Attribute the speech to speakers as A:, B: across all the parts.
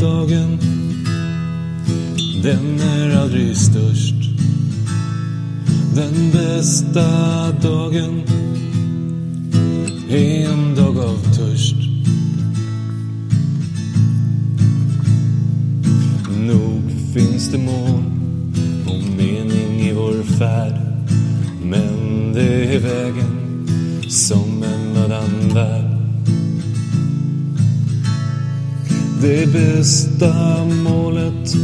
A: dagen den är aldrig störst. Den bästa dagen är en dag av törst. Nog finns det mål och mening i vår färd. Men det är vägen som en annan värld. Det bästa målet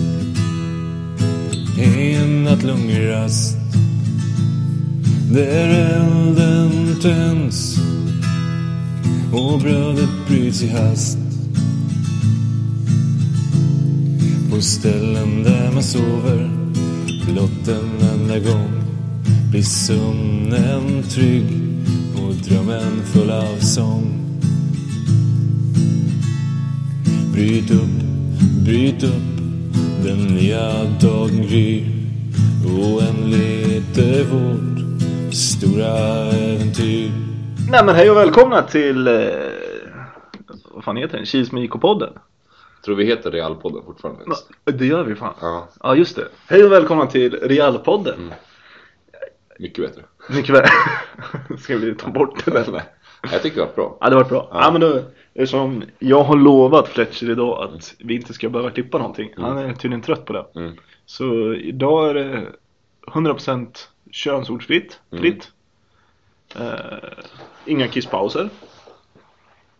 A: är en nattlugn rast. Där elden tänds och brödet bryts i hast. På ställen där man sover blott en enda gång blir sömnen trygg och drömmen full av sång. Bryt upp, bryt upp, den nya dagen gryr. Oändligt är vårt stora äventyr.
B: Nej men hej och välkomna till... Eh, vad fan heter den? Kils med IK-podden?
C: Tror vi heter Realpodden fortfarande?
B: Det gör vi fan.
C: Ja,
B: Ja just det. Hej och välkomna till Realpodden.
C: Mm. mycket bättre.
B: Mycket väl. Ska vi ta bort den eller?
C: Jag tycker det var bra.
B: Ja det var bra. Ja.
C: Ja.
B: men då, eftersom jag har lovat Fletcher idag att vi inte ska behöva klippa någonting. Han är tydligen trött på det.
C: Mm.
B: Så idag är det 100% könsordsfritt.
C: Mm.
B: Fritt. Eh, inga kisspauser.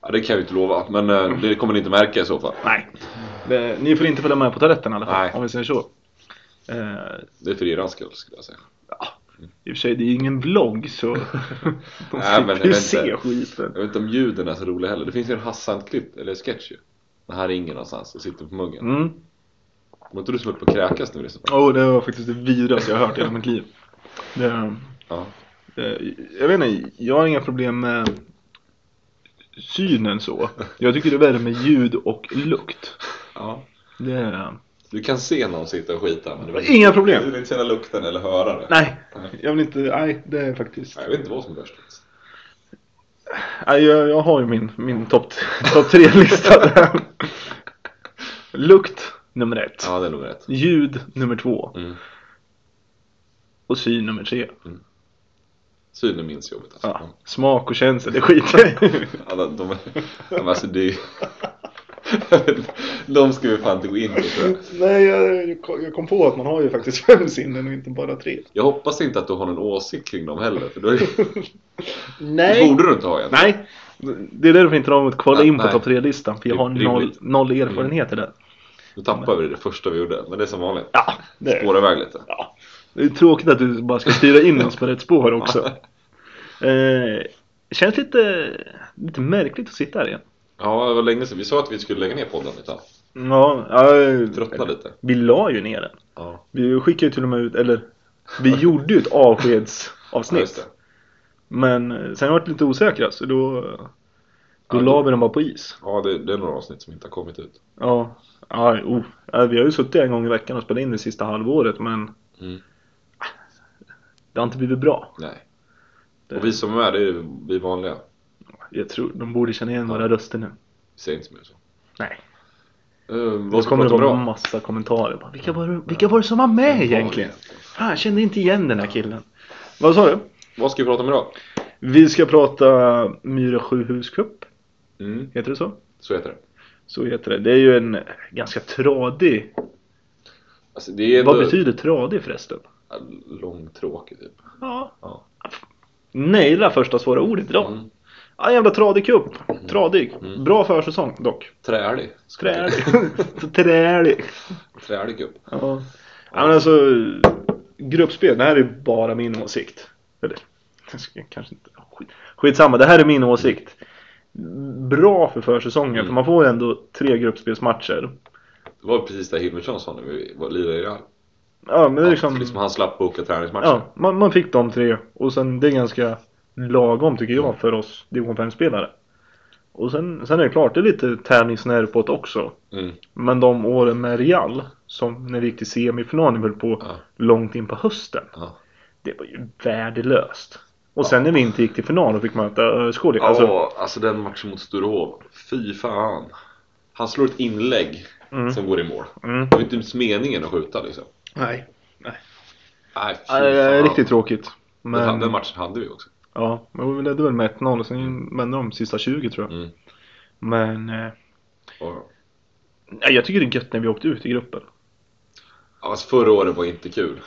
C: Ja, det kan vi inte lova, men eh, det kommer ni inte märka i så fall.
B: Nej. Det, ni får inte följa med på toaletten i alla fall.
C: Nej.
B: Om vi säger så. Eh,
C: Det är för er skull skulle jag säga.
B: I och för sig, det är ju ingen vlogg så de
C: men
B: slipper
C: jag
B: ju
C: vet
B: se
C: inte.
B: skiten.
C: Jag vet inte om ljuden är så roliga heller. Det finns ju en Hassan-klipp, eller sketch ju. När han ringer någonstans och sitter på muggen. Mm.
B: Mm.
C: Men inte du som höll på att kräkas nu? Liksom.
B: Oh, det var faktiskt det vidrigaste jag har hört i hela mitt liv. Det,
C: Ja.
B: det, jag vet inte, jag har inga problem med synen så. Jag tycker det är värre med ljud och lukt.
C: ja.
B: Det,
C: Du kan se någon sitta och skita, men du vill,
B: inga
C: du
B: problem!
C: vill inte känna lukten eller höra det.
B: Nej,
C: Nej.
B: jag vill inte, nej det är faktiskt.
C: Nej, Jag vet inte vad som är värst. alltså.
B: Nej, jag, jag har ju min, min topp top tre-lista där. Lukt nummer ett.
C: Ja, det är nog rätt.
B: Ljud nummer två.
C: Mm.
B: Och syn nummer tre.
C: Synen minns jobbet alltså.
B: Ja, smak och känsel, det skiter jag i.
C: Alla, de, de, alltså det är ju- Jag vet inte, De ska vi fan inte gå in på tror jag.
B: Nej, jag, jag kom på att man har ju faktiskt fem sinnen och inte bara tre.
C: jag hoppas inte att du har någon åsikt kring dem heller för då är,
B: Nej.
C: borde du inte ha egentligen
B: Nej. Det är därför inte de har kvalat in på
C: Nej.
B: topp tre-listan, för jag har
C: Det är Mm.
B: noll,
C: rimligt.
B: noll erfarenhet i det.
C: Nu tappar vi det första vi gjorde men det är som vanligt
B: Ja, det är,
C: Spåra iväg lite
B: ja. det är tråkigt att du bara ska styra in oss på rätt spår också. Eh, känns lite, lite märkligt att sitta här igen.
C: Ja det var länge sedan, vi sa att vi skulle lägga ner podden lite
B: Ja, jag,
C: Tröttna lite
B: vi la ju ner den.
C: Ja,
B: Vi skickade ju till och med ut, eller vi gjorde ju ett
C: ja just
B: avskedsavsnitt.
C: det
B: Men eh, sen vart vi lite osäkra så då, då
C: Ja,
B: la
C: då-
B: vi den bara på is.
C: Ja det, det är några avsnitt som inte har kommit ut
B: Ja. Ja, oh. ja, vi har ju suttit en gång i veckan och spelat in det sista halvåret men
C: Mm.
B: det har inte blivit bra.
C: Nej
B: Det-
C: Och vi som är med, det är vi vanliga
B: Jag tror de borde känna igen våra röster nu.
C: Vi säger inte mer så
B: Nej.
C: uh,
B: Då
C: Vad ska vi
B: kommer det
C: prata om
B: vara
C: idag?
B: massa kommentarer. Bara, vilka, var det, vilka var det som var med egentligen? Fan, jag kände inte igen den här killen. Vad sa du?
C: Vad ska vi prata om idag?
B: Vi ska prata Myra Sjuhus Cup,
C: Mm,
B: heter det så?
C: så heter det
B: Så heter det. Det är ju en ganska tradig.
C: alltså, det är
B: Vad
C: ändå-
B: betyder tradig förresten?
C: Ja, Långtråkig typ
B: Ja.
C: Ja.
B: Naila första svåra ordet idag.
C: Mm.
B: Ja, jävla tradig cup. Tradig. Bra försäsong dock.
C: Trälig.
B: Trälig. Så Trälig.
C: Trälig upp.
B: Ja. ja men alltså. Gruppspel, det här är bara min åsikt. Eller jag ska kanske inte. Skit. Skitsamma, det här är min åsikt. Bra för försäsongen
C: Mm.
B: för man får ändå tre gruppspelsmatcher.
C: Det var precis det Hilmersson sa när vi var lirade i Real.
B: Ja men det är liksom.
C: Att liksom han slapp boka träningsmatcher.
B: Ja, man, man fick de tre och sen det är ganska lagom tycker jag för oss division 5-spelare. Och sen, sen är det klart, det är lite tävlingsnerv på det också.
C: Mm.
B: Men de åren med Real, som när vi gick till semifinalen höll på
C: Ja.
B: långt in på hösten.
C: Ja.
B: Det var ju värdelöst. Och sen när vi inte gick till final och fick möta ÖSK, det-
C: Ja,
B: alltså,
C: alltså den matchen mot Sturehov. Fy fan. Han slår ett inlägg
B: Mm.
C: som går i mål.
B: Mm.
C: Det var ju inte ens meningen att skjuta liksom.
B: Nej.
C: Nej, fy
B: Ja, det är
C: fan.
B: Eh, riktigt tråkigt.
C: Den-
B: Men,
C: Den matchen hade vi också.
B: ja, men vi ledde väl med 1-0 och sen vände de sista 20 tror jag.
C: Mm.
B: Men eh,
C: Och,
B: nej, jag tycker det är gött när vi åkte ut i gruppen.
C: alltså, förra året var inte kul.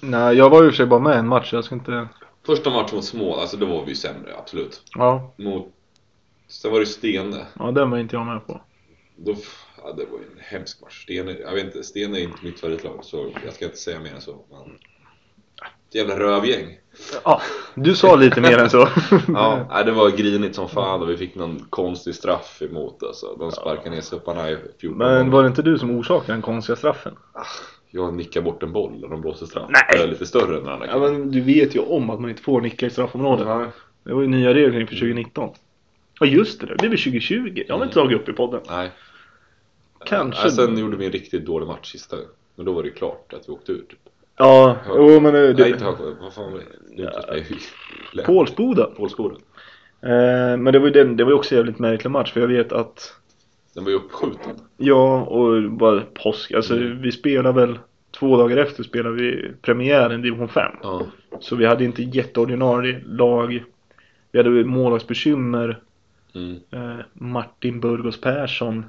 B: Nej, jag var i och för sig bara med en match, jag ska inte...
C: Första matchen mot Småland, alltså då var vi ju sämre, absolut.
B: Ja,
C: Mot... Sen var det Stene.
B: ja den var inte jag med på.
C: Då, f- ja, det var ju en hemsk match. Stene, jag vet inte, Stene är inte mitt favoritlag så jag ska inte säga mer än så. Men... Ett jävla rövgäng.
B: Ja, du sa lite mer än så.
C: Ja, nej, det var grinigt som fan och vi fick någon konstig straff emot alltså. De sparkade ner supparna i 14
B: Men
C: gånger.
B: var det inte du som orsakade den konstiga straffen?
C: Jag nickar bort en boll och de blåser straff.
B: Nej.
C: Jag är lite större än den andra.
B: men du vet ju om att man inte får nicka i straffområdet.
C: Nej.
B: Det var ju nya regler inför 2019. Ja just det, det blev 2020. Jag har inte tagit upp i podden.
C: Nej.
B: Kanske.
C: Nej, sen gjorde vi en riktigt dålig match sista Men då var det ju klart att vi åkte ur. Typ.
B: Ja, jo men eh, det...
C: Nej, inte
B: det
C: Högsjö. Vad fan var det? det? är inte Östberg.
B: Pålsboda.
C: Pålsboda.
B: Eh, men det var ju den, det var ju också en jävligt märklig match för jag vet att
C: Den var ju uppskjuten.
B: jag och bara påsk, alltså vi spelade väl två dagar efter spelade vi premiären i division 5.
C: Ja.
B: Så vi hade inte jätteordinarie lag. Vi hade målvaktsbekymmer.
C: Mm.
B: Eh, Martin Burgos Persson.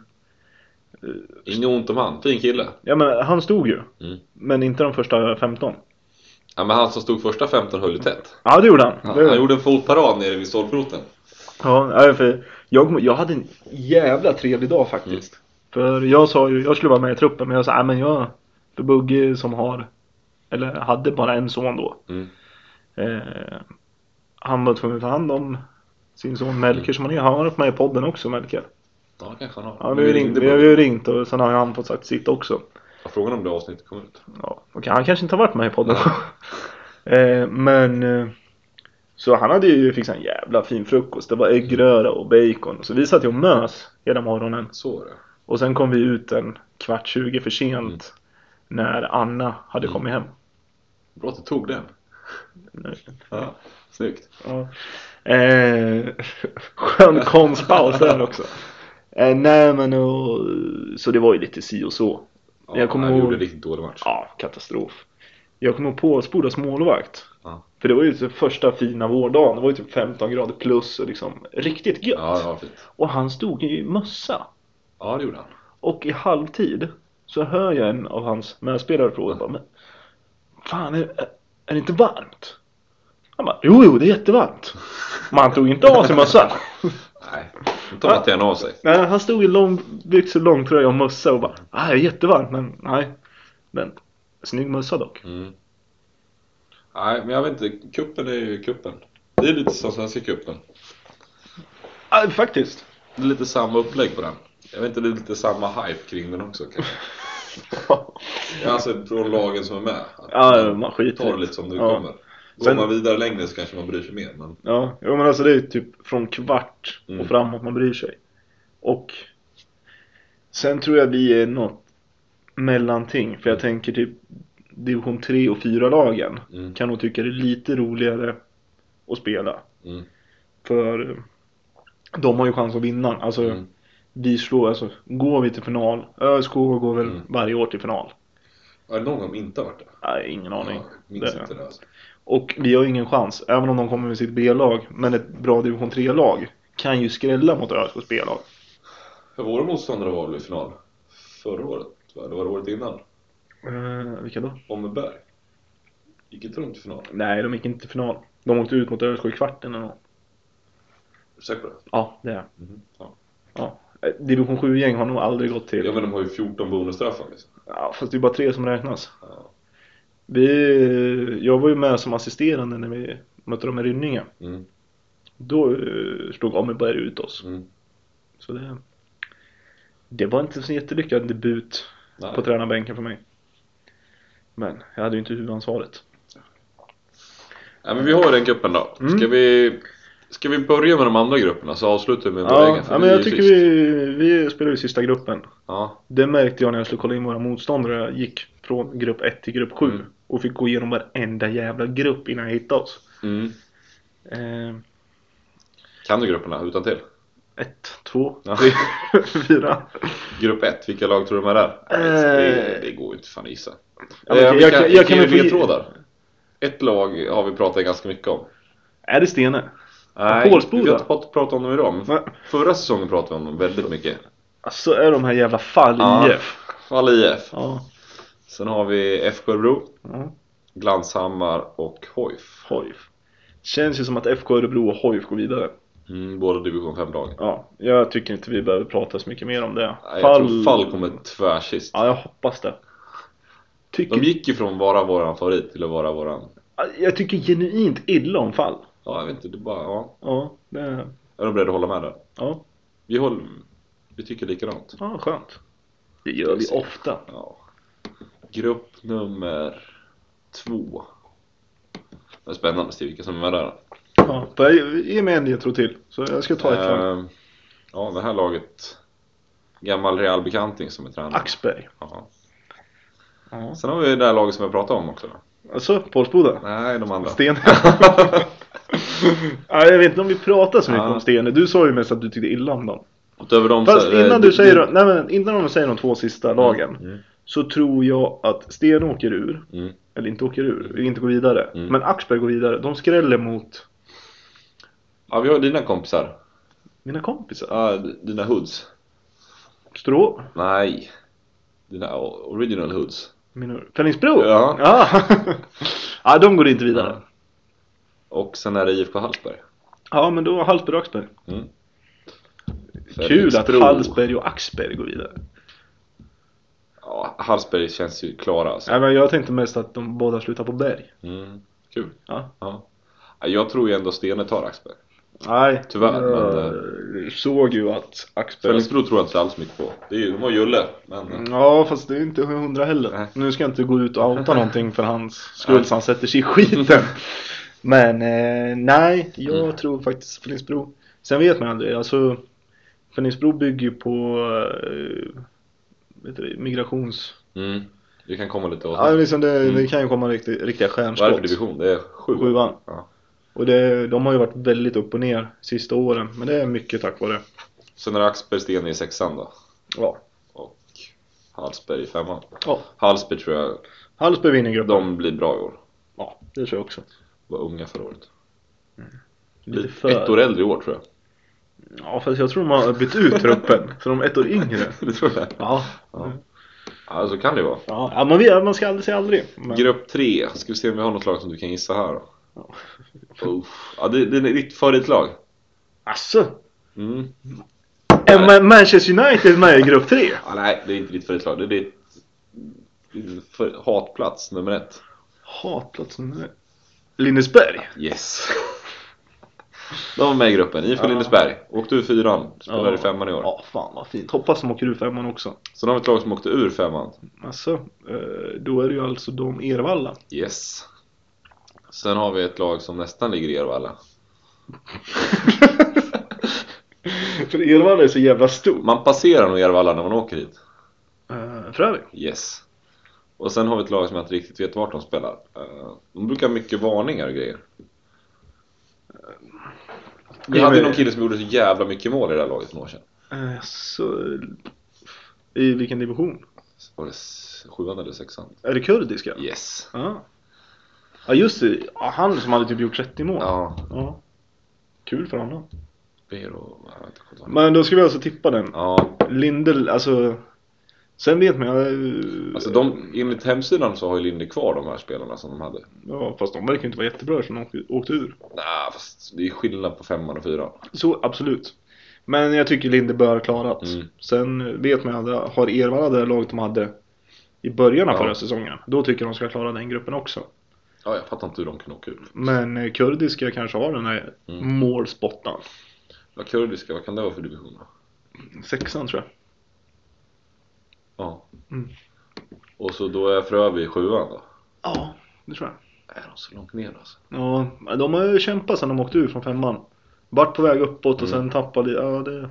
C: Inget ont om han. Fin kille.
B: Ja men han stod ju.
C: Mm.
B: Men inte de första 15.
C: Ja, men han som stod första 15 höll ju tätt.
B: Ja det gjorde han.
C: Han,
B: det...
C: han gjorde en fotparad nere vid stolproten.
B: Ja, nej, för jag, kommer- jag hade en jävla trevlig dag faktiskt. För jag sa ju, jag skulle vara med i truppen men jag sa, nej men jag, för Bugge som har, eller hade bara en son då.
C: Mm.
B: Eh, han var tvungen att ta hand om sin son Melker som han är, han har varit med i podden också Melker.
C: Ja, kanske han har.
B: Ja, vi, har ju ringt, vi har ju ringt och sen har han fått sagt sitt också.
C: Frågan om det avsnittet kommer ut.
B: Ja, okej, han kanske inte har varit med i podden. eh, men eh, så han hade ju fixat en jävla fin frukost. Det var äggröra och bacon. Så vi satt ju och mös hela morgonen.
C: Så var det.
B: Och sen kom vi ut en kvart 20 för sent
C: Mm.
B: när Anna hade
C: Mm.
B: kommit hem.
C: Bra att du tog den. Ja. Snyggt.
B: Ja. Eh, skön konstpaus där också. Eh, nej men och, så det var ju lite si och så.
C: Ja,
B: Jag kommer
C: han
B: ihåg-
C: gjorde en riktigt dålig match.
B: Ja, katastrof. Jag kommer ihåg Pålsbodas målvakt.
C: Ja.
B: För det var ju så första fina vårdagen. Det var ju typ 15 grader plus och liksom riktigt gött.
C: Ja, det var fint.
B: Och han stod i mössa.
C: Ja, det gjorde han.
B: Och i halvtid så hör jag en av hans medspelare fråga bara, men Fan, är, är det inte varmt? Han bara, jo, jo, det är jättevarmt. Men han tog inte av sig mössan.
C: Nej, då tar Mattias av sig.
B: Nej, han stod i långbyxor, långtröja och mössa och bara, nej, det är jättevarmt, men nej. Men snygg mössa dock.
C: Mm. Nej, men jag vet inte. Kuppen är ju kuppen. Det är lite som Svenska kuppen.
B: Ja, faktiskt.
C: Det är lite samma upplägg på den. Jag vet inte, det är lite samma hype kring den också kanske. Alltså från lagen som är med. Att
B: Ja, man skiter
C: tar
B: i
C: det lite som det
B: Ja.
C: kommer. Går
B: Sen-
C: man vidare längre så kanske man bryr sig mer. Men
B: Ja, jo, men alltså det är typ från kvart och
C: Mm.
B: framåt man bryr sig. Och sen tror jag vi är något mellanting. För jag tänker typ division 3 och 4-lagen
C: Mm.
B: kan nog tycka det är lite roligare att spela.
C: Mm.
B: För eh, de har ju chans att vinna. Alltså
C: Mm.
B: vi slår, alltså går vi till final. ÖSK går väl
C: Mm.
B: varje år till final.
C: är det någon gång inte varit det?
B: Nej, ingen aning.
C: Jag minns
B: Det-
C: inte det alltså.
B: Och vi har ju ingen chans, även om de kommer med sitt B-lag. Men ett bra division 3-lag kan ju skrälla mot ÖSKs B-lag.
C: Våra motståndare var väl i final? Förra året? va? Eller var det året innan?
B: Eh, vilka då?
C: Åmmeberg? Gick inte de till final?
B: Nej, de gick inte till final. De åkte ut mot ÖSK i kvarten eller nåt.
C: Är du säker på det?
B: Ja, det är
C: Mhm. Ja.
B: ja. Eh, Division 7-gäng har nog aldrig gått till.
C: ja, men de har ju 14 bonusstraffar liksom.
B: Ja, fast det är bara tre som räknas.
C: Ja.
B: Vi, jag var ju med som assisterande när vi mötte dem i Rynninge.
C: Mm.
B: Då eh, slog Amelberg ut oss.
C: Mm.
B: Så det, det var inte så jättelyckad debut
C: Nej.
B: på tränarbänken för mig. Men jag hade ju inte huvudansvaret.
C: Ja, men vi har ju den gruppen då. Ska,
B: Mm.
C: vi, ska vi börja med de andra grupperna så avslutar vi med vår
B: Ja,
C: egen? för
B: ja
C: vi
B: men
C: är
B: jag
C: ju
B: tycker
C: sist.
B: vi, vi spelar i sista gruppen.
C: Ja,
B: Det märkte jag när jag skulle kolla in våra motståndare. Jag gick från grupp 1 till grupp 7
C: Mm.
B: och fick gå igenom varenda jävla grupp innan jag hittade oss.
C: mm.
B: Eh,
C: Kan du grupperna utan till?
B: Ett, två,
C: Ja.
B: tre, fyra.
C: Eh, Grupp 1, vilka lag tror du de är där? Alltså,
B: Eh.
C: Det, det går ju inte fan att gissa.
B: Ja, men
C: Eh,
B: jag-
C: vilka,
B: jag- jag
C: vilka
B: kan
C: är
B: väl få ge-
C: ledtrådar? Ett lag har vi pratat ganska mycket om.
B: Är det Stene?
C: Nej,
B: Pålsboda.
C: vi har inte fått prata om dem idag. Men
B: Nej.
C: förra säsongen pratade vi om dem väldigt mycket.
B: Alltså är de här jävla fall
C: Ja.
B: IF.
C: Fall IF.
B: Ja.
C: Sen har vi FK Örebro,
B: ja.
C: Glanshammar och HoIF.
B: Hoif. Känns ju som att FK Örebro och Hoif går vidare.
C: Mm, båda division 5-lag.
B: Ja, jag tycker inte vi behöver prata så mycket mer om det.
C: Jag tror Fall kommer tvärsist.
B: Ja, jag hoppas det. Tycker...
C: De gick ju från vara våran favorit till att vara våran...
B: Jag tycker genuint illa om fall.
C: Ja, jag vet inte. Det är bara, ja.
B: Ja, det...
C: Är de beredda att hålla med där?
B: ja,
C: Vi, håller, vi tycker likadant.
B: ja skönt. Det gör vi ofta.
C: Ja. Grupp nummer två. Det är spännande att se vilka som är med där.
B: Ja, Eh. får jag ge mig en ledtråd till? Så jag ska ta ett från
C: Ehm, ja, det här laget. Gammal Real Bekanting som är tränare.
B: Axberg.
C: Ja.
B: Ja.
C: Sen har vi det där laget som jag pratade om också.
B: Alltså, Pålsboda?
C: Nej, de andra.
B: Sten. ja, jag vet inte om vi pratar så mycket
C: Ja.
B: om Stene. Du sa ju mest att du tyckte illa om dem.
C: Utöver dem
B: Fast
C: eh,
B: innan
C: det-
B: du säger,
C: det-
B: nej, men innan de säger de två sista lagen
C: Mm.
B: så tror jag att Sten åker ur.
C: Mm.
B: Eller inte åker ur, inte går vidare.
C: Mm.
B: Men Axberg går vidare. De skräller mot
C: Ja, vi har dina kompisar.
B: mina kompisar.
C: Ja, d- dina hoods.
B: Strå.
C: Nej. Dina o- original hoods.
B: Mina... Fällingsbro?
C: Ja.
B: ja. Ja, de går inte vidare.
C: Och sen är det IFK Hallsberg.
B: Ja, men då Hallsberg och Axberg.
C: Mm.
B: Kul att
C: Felixbro.
B: Hallsberg och Axberg går vidare.
C: Ja, Hallsberg känns ju klara alltså.
B: Nej, men jag tänkte mest att de båda slutar på berg.
C: Mm. Kul.
B: Ja.
C: Ja, Jag tror ju ändå Stene tar Axberg.
B: Nej,
C: Tyvärr, eh,
B: Jag såg ju att Axberg...
C: Fellingsbro tror jag inte alls mycket på. Det är ju, de har Julle, men...
B: Ja, fast det är inte hundra heller.
C: Nej.
B: Nu ska jag inte gå ut och outa någonting för hans skull så han sätter sig i skiten. Men eh, nej, jag
C: Mm.
B: tror faktiskt Fellingsbro. Sen vet man aldrig. Alltså, Fellingsbro bygger ju på eh, vet du, det, migrations...
C: Mm. Vi kan komma lite åt
B: Ja, liksom det,
C: Mm.
B: det kan ju komma riktiga, riktiga
C: Vad är det för
B: stjärnskott.
C: division? Det är sju.
B: Sjuan.
C: Ja.
B: Och det, de har ju varit väldigt upp och ner sista åren. Men det är mycket tack vare.
C: Sen är det Axberg, Stene i sexan då.
B: Ja.
C: Och Hallsberg i femman.
B: ja.
C: Hallsberg tror jag,
B: Hallsberg vinner gruppen.
C: de blir bra i år.
B: Ja, det tror jag också.
C: Var unga förra året.
B: Lite
C: Ett år äldre i år tror jag.
B: Ja, fast jag tror de har bytt ut truppen. Så de är ett år yngre.
C: det tror jag.
B: Ja.
C: Ja. ja, så kan det ju vara.
B: Ja, ja man, vet, man ska aldrig säga aldrig. Men...
C: Grupp 3, ska vi se om vi har något lag som du kan gissa här då? Uff. Ja, det, det är ditt favoritlag.
B: Alltså,
C: Mm.
B: är Ma- Manchester United med i grupp 3?
C: Ja, nej, det är inte ditt favoritlag. Det är ditt, din för- hatplats nummer ett.
B: Hatplats nummer Lindesberg?
C: Yes. De var med i gruppen, IFK
B: Ja.
C: Lindesberg. Åkte ur fyran, spelade i
B: Ja.
C: femman i år.
B: Ja, fan vad fint. Hoppas de åker ur femman också.
C: Sen har vi ett lag som åkte ur femman.
B: Alltså, eh, då är det ju alltså de Ervalla.
C: Yes. Sen har vi ett lag som nästan ligger i Ervalla.
B: För Ervalla är så jävla stor.
C: Man passerar nog Ervalla när man åker hit.
B: Uh, Frövi?
C: Yes. Och sen har vi ett lag som jag inte riktigt vet vart de spelar. Eh, De brukar ha mycket varningar och grejer. Vi
B: Ja,
C: hade
B: men-
C: någon kille som gjorde så jävla mycket mål i det här laget för några år sedan.
B: Eh, så, I vilken division?
C: Var det s- sjuan eller sexan?
B: Är det kurdiska?
C: Yes.
B: Ja. Ja just det, Ja, han som hade typ gjort 30 mål.
C: Ja,
B: Ja. Kul för honom.
C: Bero... jag vet inte, jag kommer inte ihåg.
B: Men då ska vi alltså tippa den.
C: Ja,
B: Lindel, alltså. Sen vet man ju. eh,
C: alltså de, enligt hemsidan så har ju Linde kvar de här spelarna som de hade.
B: Ja, fast de verkar ju inte vara jättebra eftersom de åkte, åkte ur.
C: Nej, fast det är skillnad på femman och fyran.
B: Så absolut. Men jag tycker Linde bör klarat.
C: Mm.
B: Sen vet man ju aldrig, har Ervalla det laget de hade i början av
C: Ja.
B: förra säsongen. Då tycker jag de ska klara den gruppen också.
C: Ja, jag fattar inte hur de kan åka ut.
B: Men eh, kurdiska kanske har den här
C: Mm.
B: målspottan.
C: Ja, kurdiska, vad kan det vara för division då?
B: Sexan tror jag.
C: Ja.
B: Mm.
C: Och så då är Frövi i sjuan då.
B: Ja, det tror jag.
C: Är de så långt ner alltså?
B: Ja, de har ju kämpat sedan de åkte ur från femman. Vart på väg uppåt och
C: Mm.
B: sen tappade, ja det...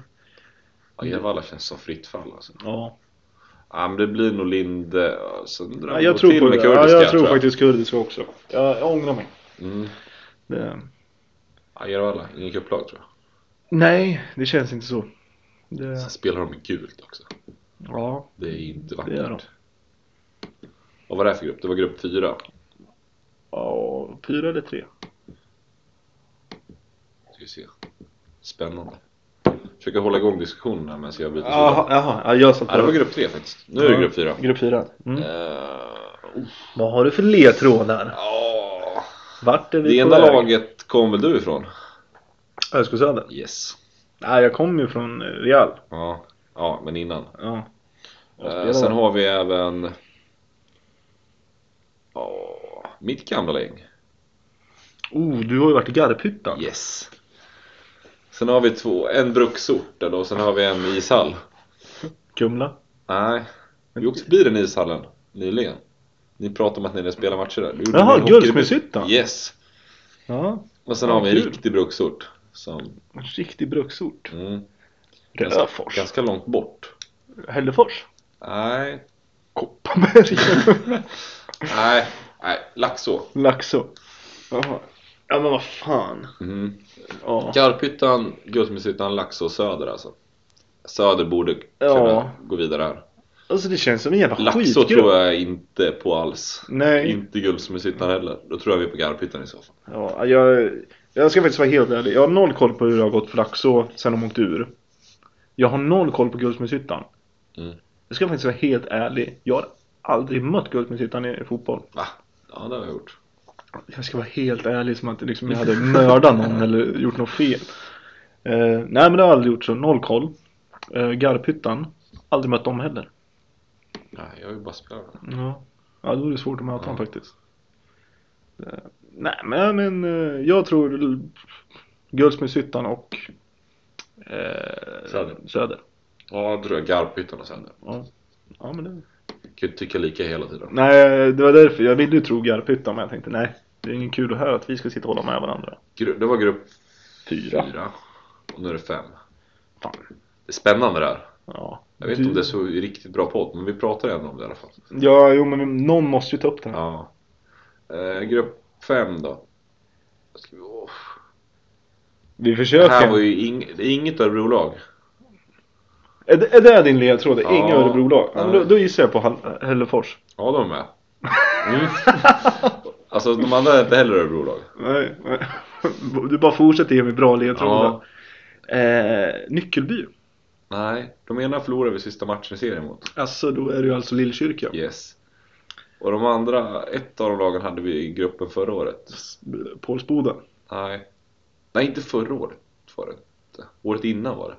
C: Ja, Järvalla känns som fritt fall alltså.
B: Ja.
C: Ja, men det blir nog Linde, ja, sen drar
B: Ja,
C: vi
B: jag
C: nog
B: tror
C: till
B: på
C: med
B: det.
C: kurdiska
B: ja, jag tror faktiskt kurdiska också. Jag, jag ångrar mig.
C: Mm.
B: Det,
C: Ja, Järvalla, ingen cuplag tror jag.
B: Nej, det känns inte så. Det,
C: Sen spelar de med gult också.
B: ja,
C: Det är inte vackert.
B: Det är de.
C: Och vad var det här för grupp? Det var grupp fyra.
B: ja, fyra eller tre.
C: Ska vi se. Spännande. Försöka hålla igång diskussionen här medan jag byter
B: Jaha,
C: sida.
B: jaha, ja, jag satt
C: Nej, det var grupp tre faktiskt. Nu är det
B: Ja.
C: grupp fyra.
B: Grupp fyra. Mm.
C: Eh, oh,
B: Vad har du för ledtrådar?
C: ja.
B: Vart är vi
C: det
B: på
C: ena
B: väg?
C: laget kom väl du ifrån?
B: Öskosaden?
C: Yes.
B: Nej, jag kommer ju från eh, Real.
C: Ja, ja men innan.
B: Ja. Jag
C: Eh,
B: spelar
C: sen
B: där.
C: har vi även ja, mitt gamla gäng.
B: Oh, du har ju varit i Garphyttan.
C: Yes. Sen har vi två, en bruksort där då, sen har vi en ishall.
B: Kumla.
C: Nej, vi åkte förbi den ishallen nyligen. Ni pratade om att ni hade spelat matcher där. Det gjorde
B: Jaha,
C: ni i hockey-
B: Guldsmedshyttan?
C: Yes.
B: Ja,
C: Och sen
B: Ja,
C: har vi en
B: kul.
C: riktig bruksort. Som,
B: en riktig bruksort.
C: mm, ganska,
B: Rödfors.
C: ganska långt bort.
B: Hällefors.
C: Nej,
B: Kopparberg.
C: nej, nej, Laxå.
B: Laxå. Jaha. Ja men vad fan.
C: Mm.
B: Ja.
C: Garphyttan, Guldsmedshyttan, Laxå, Söder alltså. Söder borde kunna
B: Ja.
C: gå vidare här.
B: Alltså det känns som en jävla
C: Laxå
B: skitgrupp.
C: tror jag Mm. inte på alls.
B: Nej.
C: Inte Guldsmedshyttan heller. Då tror jag vi är på Garphyttan i så fall.
B: Ja, jag, jag ska faktiskt vara helt ärlig. Jag har noll koll på hur det har gått för Laxå sen de åkte ur. Jag har noll koll på Guldsmedshyttan.
C: Mm.
B: Jag ska faktiskt vara helt ärlig. Jag har aldrig mött Guldsmedshyttan i fotboll.
C: Va? Ja, det har jag gjort.
B: Jag ska vara helt ärlig som att liksom, jag hade mördat någon eller gjort något fel. Eh, nej men det har jag aldrig gjort så. Noll koll. Eh, Garphyttan. Aldrig mött dem heller.
C: Nej, jag är ju bara spelare.
B: Ja, ja då är det svårt att möta
C: Ja.
B: honom faktiskt. Eh, Nej men, men eh, jag tror l- Guldsmedshyttan och eh,
C: Söder.
B: Söder.
C: Ja, då tror jag Garphyttan och Söder.
B: Ja. Ja, men det...
C: Kan ju inte tycka lika hela tiden.
B: Nej, det var därför jag ville ju tro Garphyttan men jag tänkte nej, det är ingen kul att höra att vi ska sitta och hålla med varandra.
C: Gru- Det var grupp
B: Fyra.
C: fyra. Och nu är det fem.
B: Fan.
C: Det är spännande det här.
B: Ja.
C: Jag vet inte om det är så riktigt bra podd, men vi pratar ändå om det i alla fall.
B: Ja, jo men någon måste ju ta upp det här.
C: Ja. Eh, grupp fem då. Vad Ska vi... åh.
B: Vi
C: Det
B: försöker.
C: här var ju ing... det är inget Örebrolag.
B: är, det, är det din ledtråd?
C: Ja.
B: Inga Örebrolag? Ja, men då,
C: Nej.
B: då gissar jag på Hall- Hällefors.
C: Ja, de är med. Mm. alltså, de andra är inte heller Örebrolag.
B: Nej, nej. Du bara fortsätter ge mig bra ledtrådar.
C: Ja.
B: Eh, nyckelby.
C: Nej, de ena förlorade vi sista matchen i serien mot.
B: Alltså då är det ju alltså Lillkyrka.
C: Yes. Och de andra, ett av de lagen hade vi i gruppen förra året.
B: S- Pålsboda.
C: Nej. Nej, inte förra året var det inte. Året innan var det.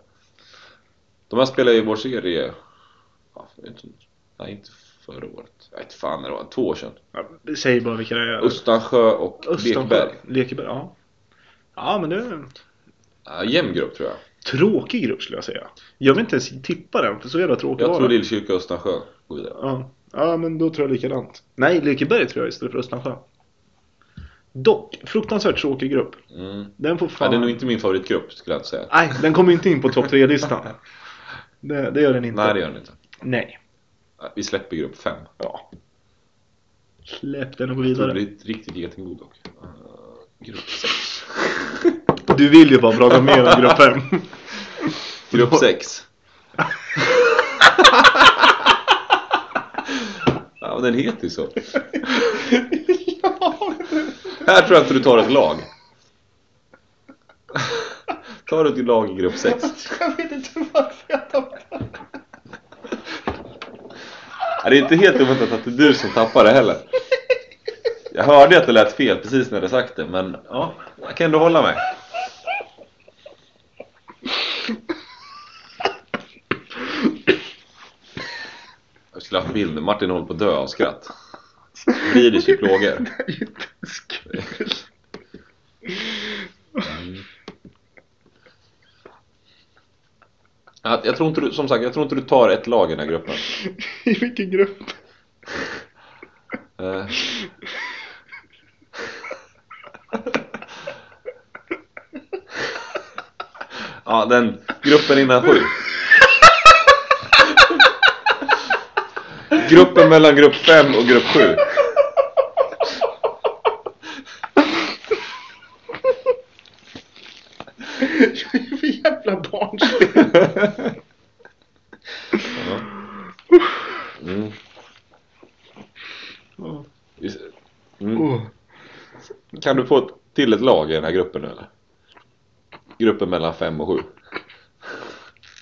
C: De här spelade i vår serie... Ja, jag vet inte. Nej, inte förra året. Jag vet fan när det var. Två år sedan.
B: Säg bara vilka det är.
C: Östansjö och
B: Östansjö.
C: Lekberg.
B: Lekeberg, ja. Ja men det är en
C: Ja, jämn grupp tror jag.
B: tråkig grupp skulle jag säga. Jag vill inte ens tippa den för så jävla tråkig
C: Jag
B: var
C: tror
B: den.
C: Lillkyrka och Östansjö går vidare.
B: Ja. ja men då tror jag likadant. Nej, Lekeberg tror jag istället för Östansjö. Dock, fruktansvärt tråkig grupp.
C: Mm.
B: Den får
C: Ja,
B: fan...
C: det är nog inte min favoritgrupp skulle jag inte säga.
B: Nej, den kommer inte in på topp 3-listan. Det, det gör den inte.
C: Nej, det gör den inte.
B: Nej.
C: Ja, Vi släpper grupp fem.
B: Ja. Släpp den och gå
C: Jag tror det
B: vidare.
C: är riktigt getingod dock. Eh, grupp sex.
B: Du vill ju bara prata mer om grupp 5.
C: Grupp sex. ja, men den heter ju så. Här tror jag inte du tar ett lag. Tar du ett lag i grupp sex?
B: Jag vet inte varför jag tappade.
C: Ja, Det är inte helt oväntat att det är du som tappar det heller. Jag hörde att det lät fel precis när du sagt det, men ja, jag kan ändå hålla mig. Jag skulle haft bilden. Martin håller på att dö av skratt. Blir det psykologer? Ja, Jag tror inte du, som sagt, jag tror inte du tar ett lag i den här gruppen.
B: I vilken grupp?
C: Eh. Ja, den gruppen innan sju. Gruppen mellan grupp fem och grupp sju.
B: Jag är ju för jävla barnspel.
C: Mm.
B: Ja.
C: Just- Mm.
B: Åh.
C: Kan du få ett- till ett lag i den här gruppen nu eller? Gruppen mellan 5 och 7.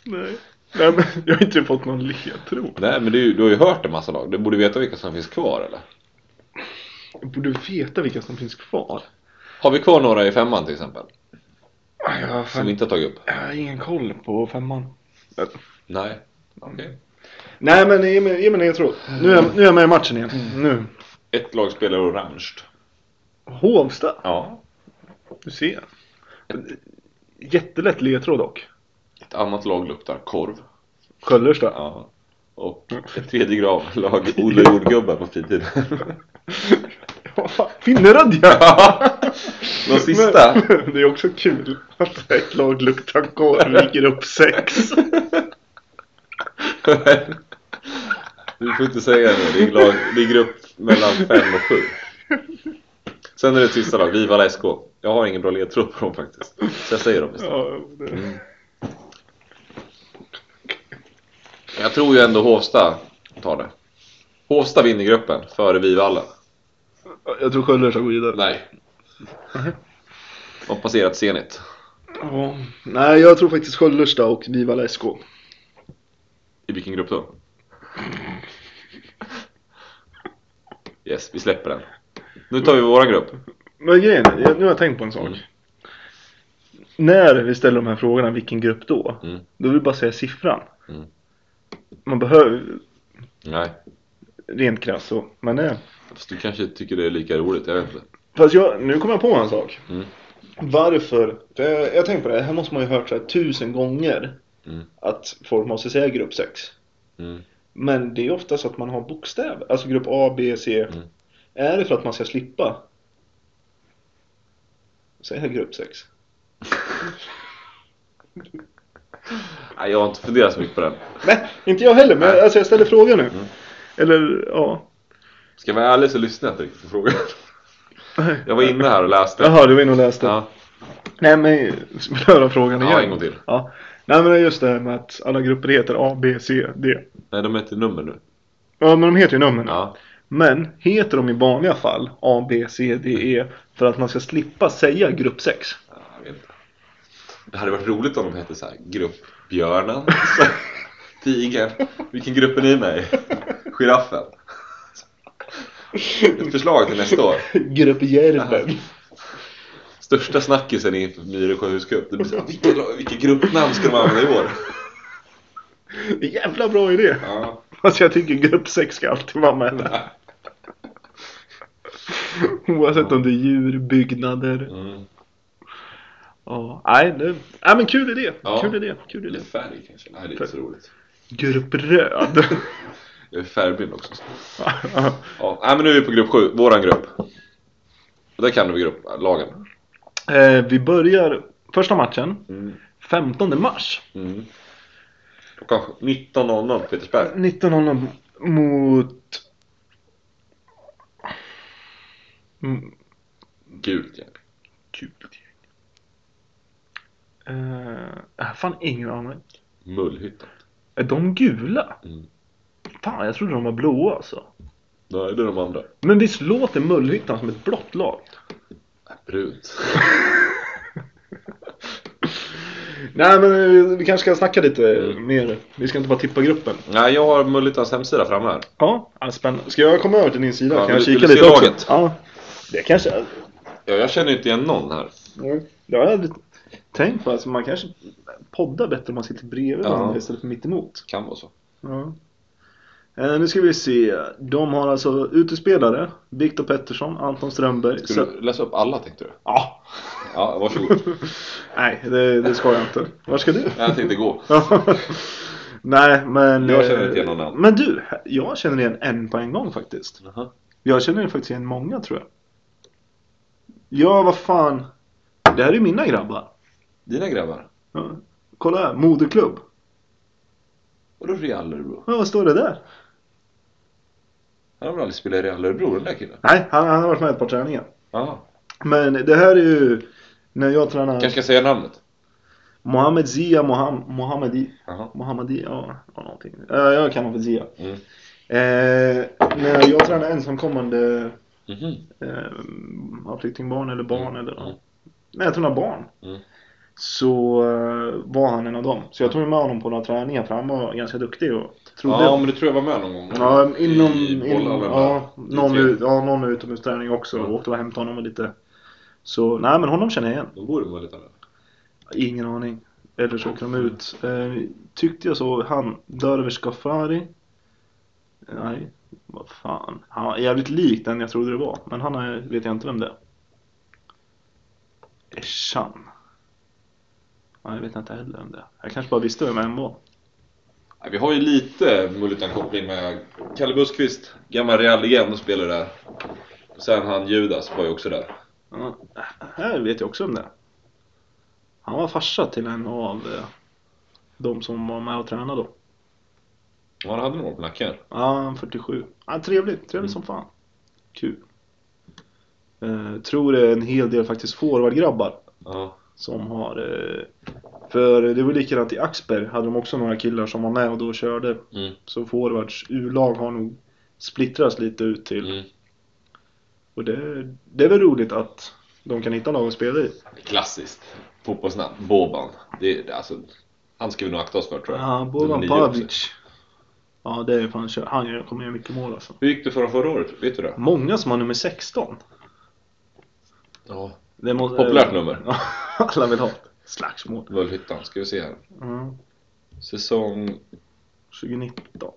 B: Nej. Nej, men jag har inte fått någon ledtråd.
C: Nej men du, du har ju hört en massa lag. Du borde veta vilka som finns kvar eller?
B: Jag borde veta vilka som finns kvar.
C: Har vi kvar några i femman till exempel?
B: Nej, Ah, Jag har,
C: Som vi
B: fan,
C: inte har tagit upp?
B: jag har ingen koll på femman.
C: Nej. Okej.
B: Nej men ge mig, ge mig en ledtråd. Nu är, jag- nu är jag med i matchen igen. Nu.
C: Ett lag spelar orange.
B: Hovsta.
C: Ja.
B: Du ser. Jättelätt ledtråd dock.
C: Ett annat lag luktar korv.
B: Sköllersta.
C: Ja. Och ett tredje grav- lag odlar jordgubbar på fritiden.
B: Ja. Finnerödja.
C: De sista.
B: Men, det är också kul att ett lag luktar korv ligger upp sex.
C: Du får inte säga det nu. Det är, lag, det är grupp mellan 5 och 7. Sen är det ett sista lag, Vivala SK. Jag har ingen bra ledtråd på dem faktiskt. Så jag säger dem istället.
B: Ja, det.
C: Mm. Jag tror ju ändå Hovsta tar det. Hovsta vinner gruppen före Vivalla.
B: Jag tror Sköllersta går vidare.
C: Nej. De har passerat Zenit.
B: Ja. Nej, jag tror faktiskt Sköllersta och Vivalla SK.
C: I vilken grupp då? Yes, vi släpper den. Nu tar vi våran grupp.
B: Men grejen är, jag- nu har jag tänkt på en sak.
C: Mm.
B: När vi ställer de här frågorna, vilken grupp då?
C: Mm.
B: Då vill vi bara säga siffran.
C: Mm.
B: Man behöver,
C: Nej,
B: rent krasst så. Men eh, nej.
C: fast du kanske tycker det är lika roligt. Jag vet inte.
B: Fast jag, nu kommer jag på en sak.
C: Mm.
B: Varför? För jag, jag tänkte på det, här måste man ju ha hört så här tusen gånger.
C: Mm.
B: Att folk måste säga grupp 6.
C: Mm.
B: Men det är ofta så att man har bokstäver, alltså grupp A, B, C.
C: Mm.
B: Är det för att man ska slippa säga grupp 6?
C: Nej, jag har inte funderat så mycket på den.
B: Nej, inte jag heller, men jag- alltså jag ställer frågan nu.
C: Mm.
B: Eller ja.
C: Ska jag vara ärlig så lyssnade jag inte riktigt på frågan. Jag var inne här och läste.
B: Jaha, du var inne och läste.
C: Ja,
B: Nej men, ska vi höra frågan igen?
C: ja en gång till.
B: Ja. Nej men det är just det här med att alla grupper heter A, B, C, D.
C: Nej, de heter nummer nu.
B: Ja men de heter ju nummer nu.
C: Ja.
B: Men heter de i vanliga fall A, B, C, D, E för att man ska slippa säga grupp 6?
C: Ja, jag vet inte. Det hade varit roligt om de hette så här grupp björnen, tigern, vilken grupp är ni med i? Giraffen. Ett förslag till nästa år.
B: Grupp Järven.
C: Största snackisen inför Myresjö huscup. Det blir så här, vilken, vilken gruppnamn ska de använda i år?
B: Jävla bra idé!
C: Ja.
B: Alltså jag tycker grupp 6 ska alltid vara med där. Oavsett om det är djur, byggnader.
C: Mm.
B: Ja, nej, det... nej men kul idé.
C: Ja.
B: Kul idé. Kul idé.
C: Eller färg kanske? Nej, det är inte så roligt.
B: Grupp röd.
C: Jag är färgblind också. Ja, nej, men nu är vi på grupp sju, våran grupp. Och där kan du grupplagen.
B: eh, vi börjar första matchen.
C: Mm.
B: 15 mars.
C: Mm. Klockan 19.00 på Petersberg.
B: 1900 mot... Mm, typ.
C: Gult gäng.
B: Gult gäng. Eh, jag har fan ingen aning.
C: Mullhyttan.
B: Är de gula?
C: Mm.
B: Fan, jag trodde de var blåa alltså.
C: Nej, det är de andra.
B: Men visst låter Mullhyttan som ett blått lag?
C: Brunt.
B: Nej men eh, vi kanske ska snacka lite eh,
C: Mm.
B: mer. Vi ska inte bara tippa gruppen.
C: Nej, jag har Mullhyttans hemsida framme här.
B: Ja, ja, spännande. Ska jag komma över till din sida?
C: Ja,
B: kan
C: vill
B: jag kika
C: du- vill du
B: lite
C: se
B: också? Ja.
C: laget?
B: Det kanske...
C: Ja, jag känner ju inte igen någon här.
B: Ja, det har jag aldrig tänkt på. Alltså, man kanske poddar bättre om man sitter bredvid
C: Ja.
B: varandra istället för mitt emot.
C: Kan vara så.
B: Ja. Eh, nu ska vi se. De har alltså utespelare. Viktor Pettersson, Anton Strömberg.
C: Ska
B: Så...
C: du läsa upp alla tänkte du?
B: Ja,
C: Ja, varsågod.
B: nej det, det ska jag inte. Var ska du?
C: Jag tänkte gå.
B: nej men...
C: Jag känner inte
B: eh,
C: igen någon annan.
B: Men du, jag känner igen en på en gång faktiskt.
C: Jaha.
B: Jag känner faktiskt igen många tror jag. Ja, vad fan. Det här är mina grabbar.
C: Dina grabbar?
B: Ja. Kolla här, moderklubb.
C: Vadå Real Örebro?
B: Ja, vad står det där?
C: Han har väl aldrig spelat i Real Örebro, den där killen?
B: Nej, han, han har varit med ett par träningar.
C: Ja.
B: Men det här är ju när jag tränar...
C: Kanske ska jag säga namnet?
B: Mohamed Zia Moham, Mohamedi.
C: Jaha.
B: Mohamedi, ja, ja, någonting. Eh, Jag kallar honom för Zia.
C: Mm.
B: Eh, när jag tränar ensamkommande
C: Mhm.
B: eh, ja, flyktingbarn eller barn eller
C: Mm.
B: Nej, jag tror några barn.
C: Mm.
B: Så eh, var han en av dem. Så jag tog med honom på några träningar för han var ganska duktig och trodde...
C: Ja, men du tror jag var med någon gång?
B: Ja, inom...
C: I
B: inom
C: bollhallen
B: ja,
C: där.
B: någon,
C: I tre.
B: ut, ja, någon utomhusträning också.
C: Mm.
B: Åkte och hämtade honom och lite... Så nej, men honom känner jag igen.
C: Då bor du väl lite där?
B: Ingen aning. Eller så åker de ut. Eh, tyckte jag så han Darvish Ghaffari. Nej, vad fan. Han var jävligt lik den jag trodde det var. Men han är, vet jag inte vem det är. Eshan. Nej, jag vet inte heller vem det är. Jag kanske bara visste vem han var.
C: Nej, Vi har ju lite Mullitan-koppling med Kalle Buskvist, gammal Real-legend, spelade där. Och Sen han Judas var ju också där.
B: Ja, här vet jag också vem det är. Han var farsa till en av eh, de som var med och tränade då.
C: Ja, han hade några år på nacken.
B: Ja, han är 47. Ja, trevlig, trevlig som fan. Kul. Eh, tror det är en hel del faktiskt forwardgrabbar
C: Ja.
B: som har... Eh, för det var likadant i Axberg, hade de också några killar som var med och då körde.
C: Mm.
B: Så forwards U-lag har nog splittrats lite ut till.
C: Mm.
B: Och det, det är väl roligt att de kan hitta lag att spela i.
C: Klassiskt fotbollsnamn, Boban. Det, det, alltså, han ska vi nog akta oss för tror jag.
B: Ja,
C: Nummer
B: Boban
C: nio också.
B: Pavic. Ja, det är fan kör. Han kommer göra mycket mål alltså.
C: Hur gick det för dem förra året? Vet du det?
B: Många som har nummer 16.
C: Ja.
B: Det måste-
C: Populärt nummer.
B: Ja, alla vill ha ett slagsmål.
C: Völhyttan, ska vi se här.
B: Mm.
C: Säsong...
B: 2019.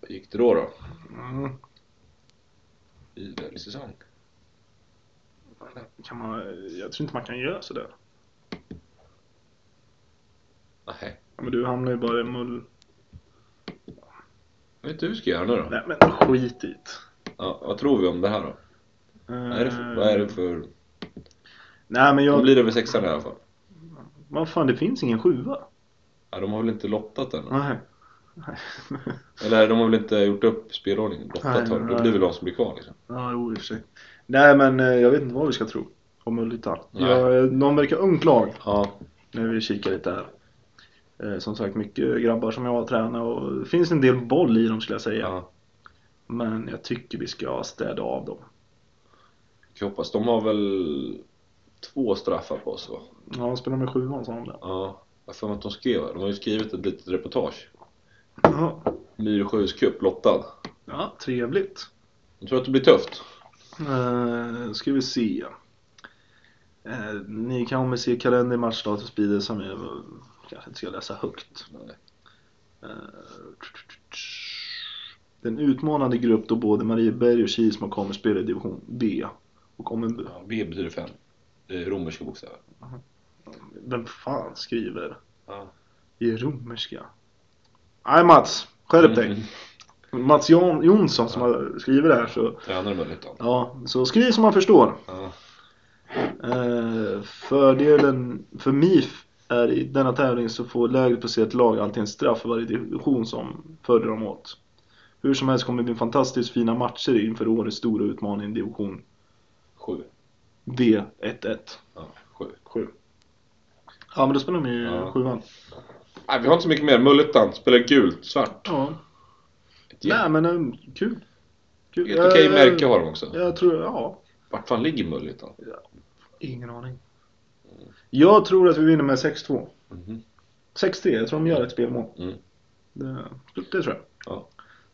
C: Vad gick det då då?
B: Mm.
C: Vidare säsong.
B: Kan man, jag tror inte man kan göra sådär.
C: Nej,
B: Ja, Men du hamnar ju bara i mull...
C: jag vet inte hur vi ska göra nu då.
B: Nej men skit i det.
C: Ja, vad tror vi om det här då? Vad är det för... Vad är det för...
B: Eh, Nej men
C: De
B: jag...
C: blir över sexan i alla fall.
B: Vad fan, det finns ingen sjua.
C: Ja, de har väl inte lottat än?
B: Nej. Nej.
C: Eller de har väl inte gjort upp spelordningen? Lottat
B: Nej,
C: har Då
B: nej.
C: blir väl de som blir kvar liksom.
B: ja, jo i och för sig. Nej men eh, jag vet inte vad vi ska tro. Om Ulritan.
C: Nej.
B: Jag- De verkar ungt lag.
C: Ja.
B: När vi kikar lite här. Eh, Som sagt, mycket grabbar som jag har tränat och det finns en del boll i dem skulle jag säga.
C: ja.
B: Men jag tycker vi ska städa av dem.
C: Jag hoppas. De har väl två straffar på sig va?
B: Ja, de spelar med sjuan sa de där.
C: Ja. Jag har för mig att de skrev det. De har ju skrivit ett litet reportage.
B: Ja.
C: Myresjös cup, lottad.
B: Ja, trevligt.
C: Jag tror att det blir tufft.
B: Uh, ska vi se. Eh, ni kommer se kalender i matchdag för Speeder som jag eh, kanske inte ska läsa högt.
C: Nej.
B: Eh, den utmanande grupp då både Marieberg och Kilsmo kommer spela i division B. Och om en,
C: Ja, B betyder fem. Det är romerska bokstäver.
B: vem fan skriver
C: Ja.
B: i romerska? Nej Mats, skärp dig.
C: Mm.
B: Mats Jan, Jonsson som har skrivit det här så,
C: Tränare Mölhyttan.
B: ja, så skriv som man förstår.
C: Ja.
B: Eh, fördelen för MIF är i denna tävling så får lägre placerat lag alltid en straff för varje division som följer dem åt. Hur som helst kommer det bli fantastiskt fina matcher inför årets stora utmaning i division
C: Sju.
B: D11.
C: Ja, sju.
B: 7. Ja men då spelar de ju
C: Ja.
B: sjuan.
C: Nej, vi har inte så mycket mer. Mölhyttan spelar gult, svart.
B: Ja.
C: Ett
B: Nej men um, kul. kul.
C: Helt okej
B: Jag-
C: märke har de också.
B: Jag tror, ja.
C: Vart fan ligger Mölhyttan?
B: Ingen aning. Jag tror att vi vinner med 6-2.
C: Mhm.
B: 6-3, jag tror de gör ett spelmål.
C: Mm.
B: Det, det tror jag.
C: Ja.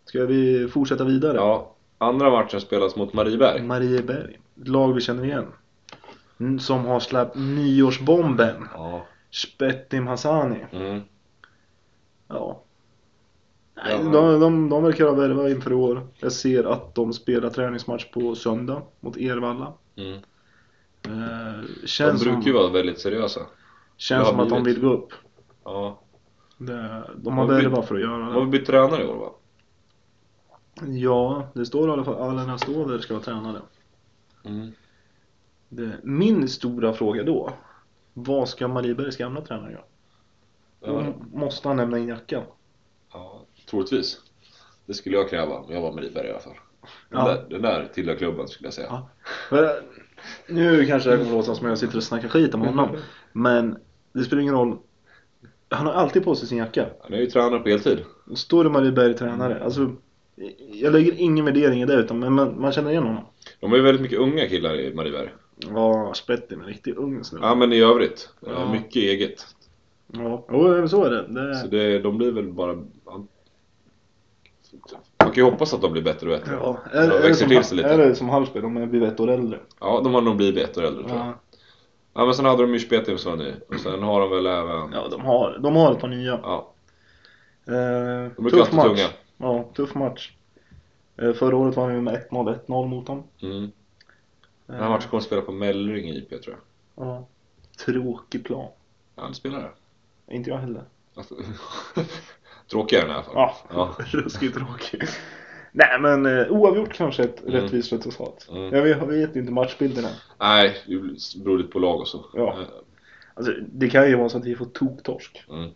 B: Ska vi fortsätta vidare?
C: Ja, andra matchen spelas mot Marieberg.
B: Marieberg, ett lag vi känner igen. Mm, Som har släppt nyårsbomben.
C: Ja.
B: Spettim Hassani.
C: Mm.
B: Ja. Nej,
C: Ja.
B: de, de, de verkar ha värvat inför i år. Jag ser att de spelar träningsmatch på söndag mot Ervalla.
C: Mm.
B: Eh,
C: De
B: känns
C: brukar ju
B: som,
C: vara väldigt seriösa.
B: känns som att de
C: blivit.
B: vill gå upp.
C: Ja.
B: Det, de har
C: De vill-
B: värvat för att göra
C: De har
B: det.
C: väl bytt tränare i år va?
B: Ja, det står i alla fall Alena Ståver ska vara tränare.
C: Mm.
B: Det, min stora fråga då. Vad ska Mariebergs gamla tränare göra?
C: Ja.
B: Då måste han lämna in jackan.
C: ja, troligtvis. Det skulle jag kräva om jag var Marieberg i alla fall. Den,
B: Ja.
C: där, den där tillhör klubben skulle jag säga.
B: Ja. Men, Nu kanske det här kommer låta som att jag sitter och snackar skit om honom. Men Det spelar ingen roll. Han har alltid på sig sin jacka.
C: Han är ju tränare på heltid.
B: Står det Marieberg tränare. Alltså, jag lägger ingen värdering i det, utan, men man, man känner igen honom.
C: De är ju väldigt mycket unga killar i Marieberg.
B: Ja, Spettin är en riktigt ung snubbe.
C: Ja, men i övrigt. eh,
B: Ja.
C: Mycket eget.
B: Ja, jo, så är det.
C: Så
B: det
C: det, de blir väl bara... Han... Man kan ju hoppas att de blir bättre och bättre.
B: ja,
C: De
B: är, är, det
C: växer
B: som,
C: till sig lite.
B: är det som Hallsberg, de är blivit ett år äldre.
C: Ja, de har nog blivit ett år äldre tror jag.
B: Ja,
C: Ja, men sen hade de ju Spetiem som var ny. Och sen har de väl även...
B: ja de, har, de har ett par nya.
C: Ja,
B: Eh,
C: de brukar
B: tuff
C: alltid
B: match.
C: tunga.
B: Ja, tuff match. Eh, förra året var han ju med 1-0, 1-0 mot dem.
C: Mm. Den
B: Eh,
C: här matchen kommer att spela på Mellring IP tror jag.
B: Ja. Tråkig plan.
C: Ja, det spelar det.
B: Inte jag heller.
C: Alltså, Tråkigare den i alla fall.
B: Ja,
C: Ja.
B: ruskigt tråkig. Nej men eh, oavgjort kanske ett
C: Mm.
B: rättvist resultat.
C: Mm.
B: Jag vet, jag vet inte matchbilderna.
C: Nej, det beror lite på lag och så.
B: Ja.
C: Eh,
B: Alltså, det kan ju vara så att vi får toktorsk.
C: Mm.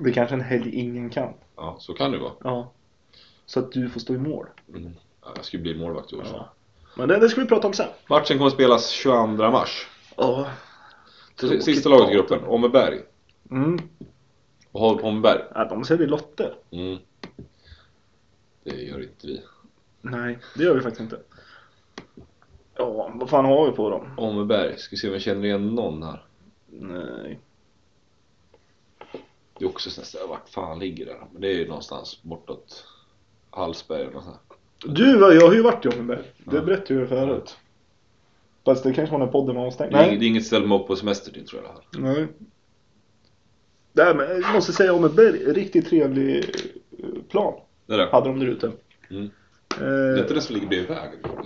B: Det är kanske en helg ingen kan.
C: Ja, så kan det ju vara.
B: Ja. Så att du får stå i mål.
C: Mm. Ja, jag ska ju bli målvakt i år. så.
B: Men det, det ska vi prata om sen.
C: Matchen kommer att spelas 22 mars.
B: Ja. Tråkigt
C: Sista laget i
B: datum.
C: gruppen, Åmmeberg.
B: Mm.
C: Och har Åmmeberg.
B: Ja, de säljer lotter.
C: Mm. Det gör inte vi.
B: Nej, det gör vi faktiskt inte. Ja, vad fan har vi på dem?
C: Åmmeberg, ska vi se om jag känner igen någon här.
B: Nej.
C: Det är också sådär, vart fan ligger det? här? Men det är ju någonstans bortåt Hallsberg eller något sånt. här.
B: Du, jag har ju varit i Åmmeberg. Det
C: Ja.
B: berättade jag ju förut. Fast det kanske var när podden var avstängd.
C: Det är, ing- det är inget ställe man åker på semester till tror jag det här.
B: Nej. Nej, men jag måste säga Åmmeberg, riktigt trevlig eh, plan
C: Det där.
B: hade de där ute.
C: Mm. Det är
B: Eh,
C: inte det som ligger bredvid vägen? eller?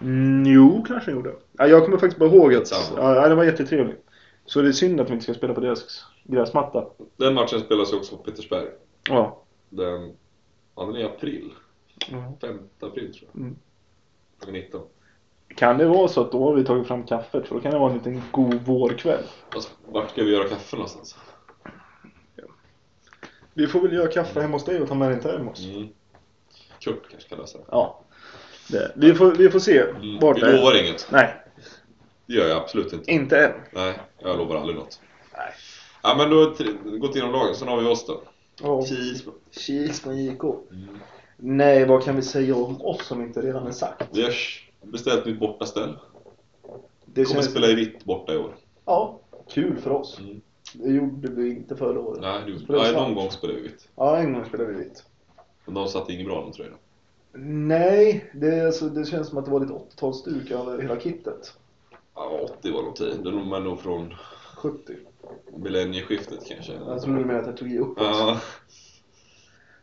B: mm, jo, kanske den gjorde. Ja, jag kommer faktiskt bara ihåg att
C: Samma.
B: ja, den var jättetrevlig. Så det är synd att vi inte ska spela på deras gräsmatta.
C: Den matchen spelas ju också på Petersberg.
B: Ja.
C: Den, ja, den är i april. 5 april tror jag.
B: Mm.
C: Klockan 19.
B: Kan det vara så att då har vi tagit fram kaffet? För då kan det vara en liten god vårkväll.
C: Alltså, vart ska vi göra kaffe någonstans?
B: Vi får väl göra kaffe hemma hos dig och ta med en termos.
C: Mm. Kurt kanske kan lösa det.
B: Ja. Det. Vi, får, vi får se
C: Mm.
B: vart
C: Vi
B: det är.
C: lovar inget.
B: Nej,
C: Det gör jag absolut inte.
B: inte än.
C: Nej, jag lovar aldrig något.
B: Nej.
C: Ja, men då har vi gått igenom lagen. Sen har vi oss då.
B: Ja.
C: Kilsbo.
B: Kilsmo JK.
C: Mm.
B: Nej, vad kan vi säga om oss som inte redan är sagt?
C: Vi har beställt nytt bortaställ.
B: Det
C: Kommer spela i vitt borta i år.
B: Ja, kul för oss.
C: Mm.
B: Det gjorde vi inte förra året.
C: Nej, det gjorde
B: Spelar
C: Nej,
B: svart.
C: någon gång spelade vi vitt.
B: Ja, en gång spelade vi vitt.
C: Men de satte ingen bra de tröjorna.
B: Nej, det, alltså, det känns som att det var lite 80-talsstuk över hela kittet.
C: Ja, 80 var de tid. Det är nog- men nog från
B: 70.
C: millennieskiftet kanske.
B: Jag tror du Alltså, menar att jag tog i uppåt.
C: Ja,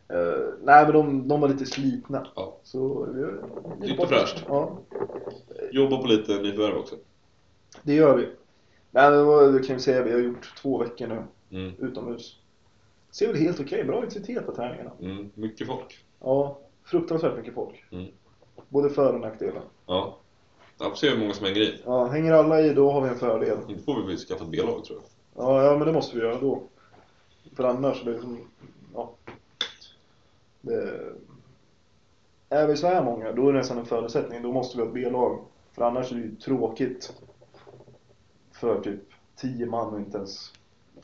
B: Eh, nej, men de, de var lite slitna.
C: Ja.
B: Så vi gör
C: Nytt och fräscht.
B: Ja,
C: jobbar på lite nyförvärv också.
B: det gör vi. Nej, men vad det kan vi säga? Vi har gjort två veckor nu
C: Mm.
B: utomhus. Ser väl helt okej. Bra intensitet på träningarna.
C: Mm. Mycket folk.
B: Ja, fruktansvärt mycket folk.
C: Mm.
B: Både för och nackdelar.
C: Ja. Jag får se hur många som hänger i.
B: Ja, hänger alla i då har vi en fördel.
C: Inte får vi väl skaffa ett B-lag tror jag.
B: Ja, ja men det måste vi göra då. För annars blir det som... Ja. Det... Är vi så här många, då är det nästan en förutsättning. Då måste vi ha ett B-lag. För annars är det ju tråkigt för typ 10 man och inte ens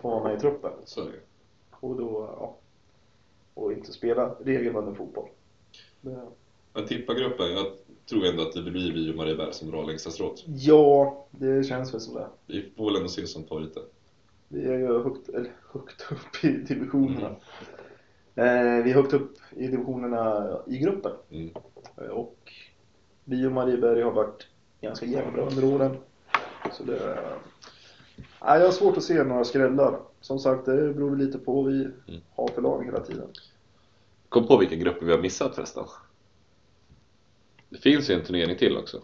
B: få vara med i truppen.
C: Så är det.
B: Och då, ja. Och inte spela regelbunden fotboll. Det...
C: Men tippa gruppen. Jag tror ändå att det blir vi och Marieberg som drar längsta strået.
B: Ja, det känns väl som det.
C: Vi får väl ändå se som favoriter.
B: Vi är ju högt, eller, högt upp i divisionerna. Eh, vi är högt upp i divisionerna i gruppen.
C: Mm.
B: Eh, och vi och Marieberg har varit ganska jämna under åren. Så det, eh, nej, jag har svårt att se några skrällar. Som sagt, det beror väl lite på vad vi
C: Mm.
B: har för lag hela tiden.
C: Kom på vilka grupper vi har missat förresten. Det finns ju en turnering till också.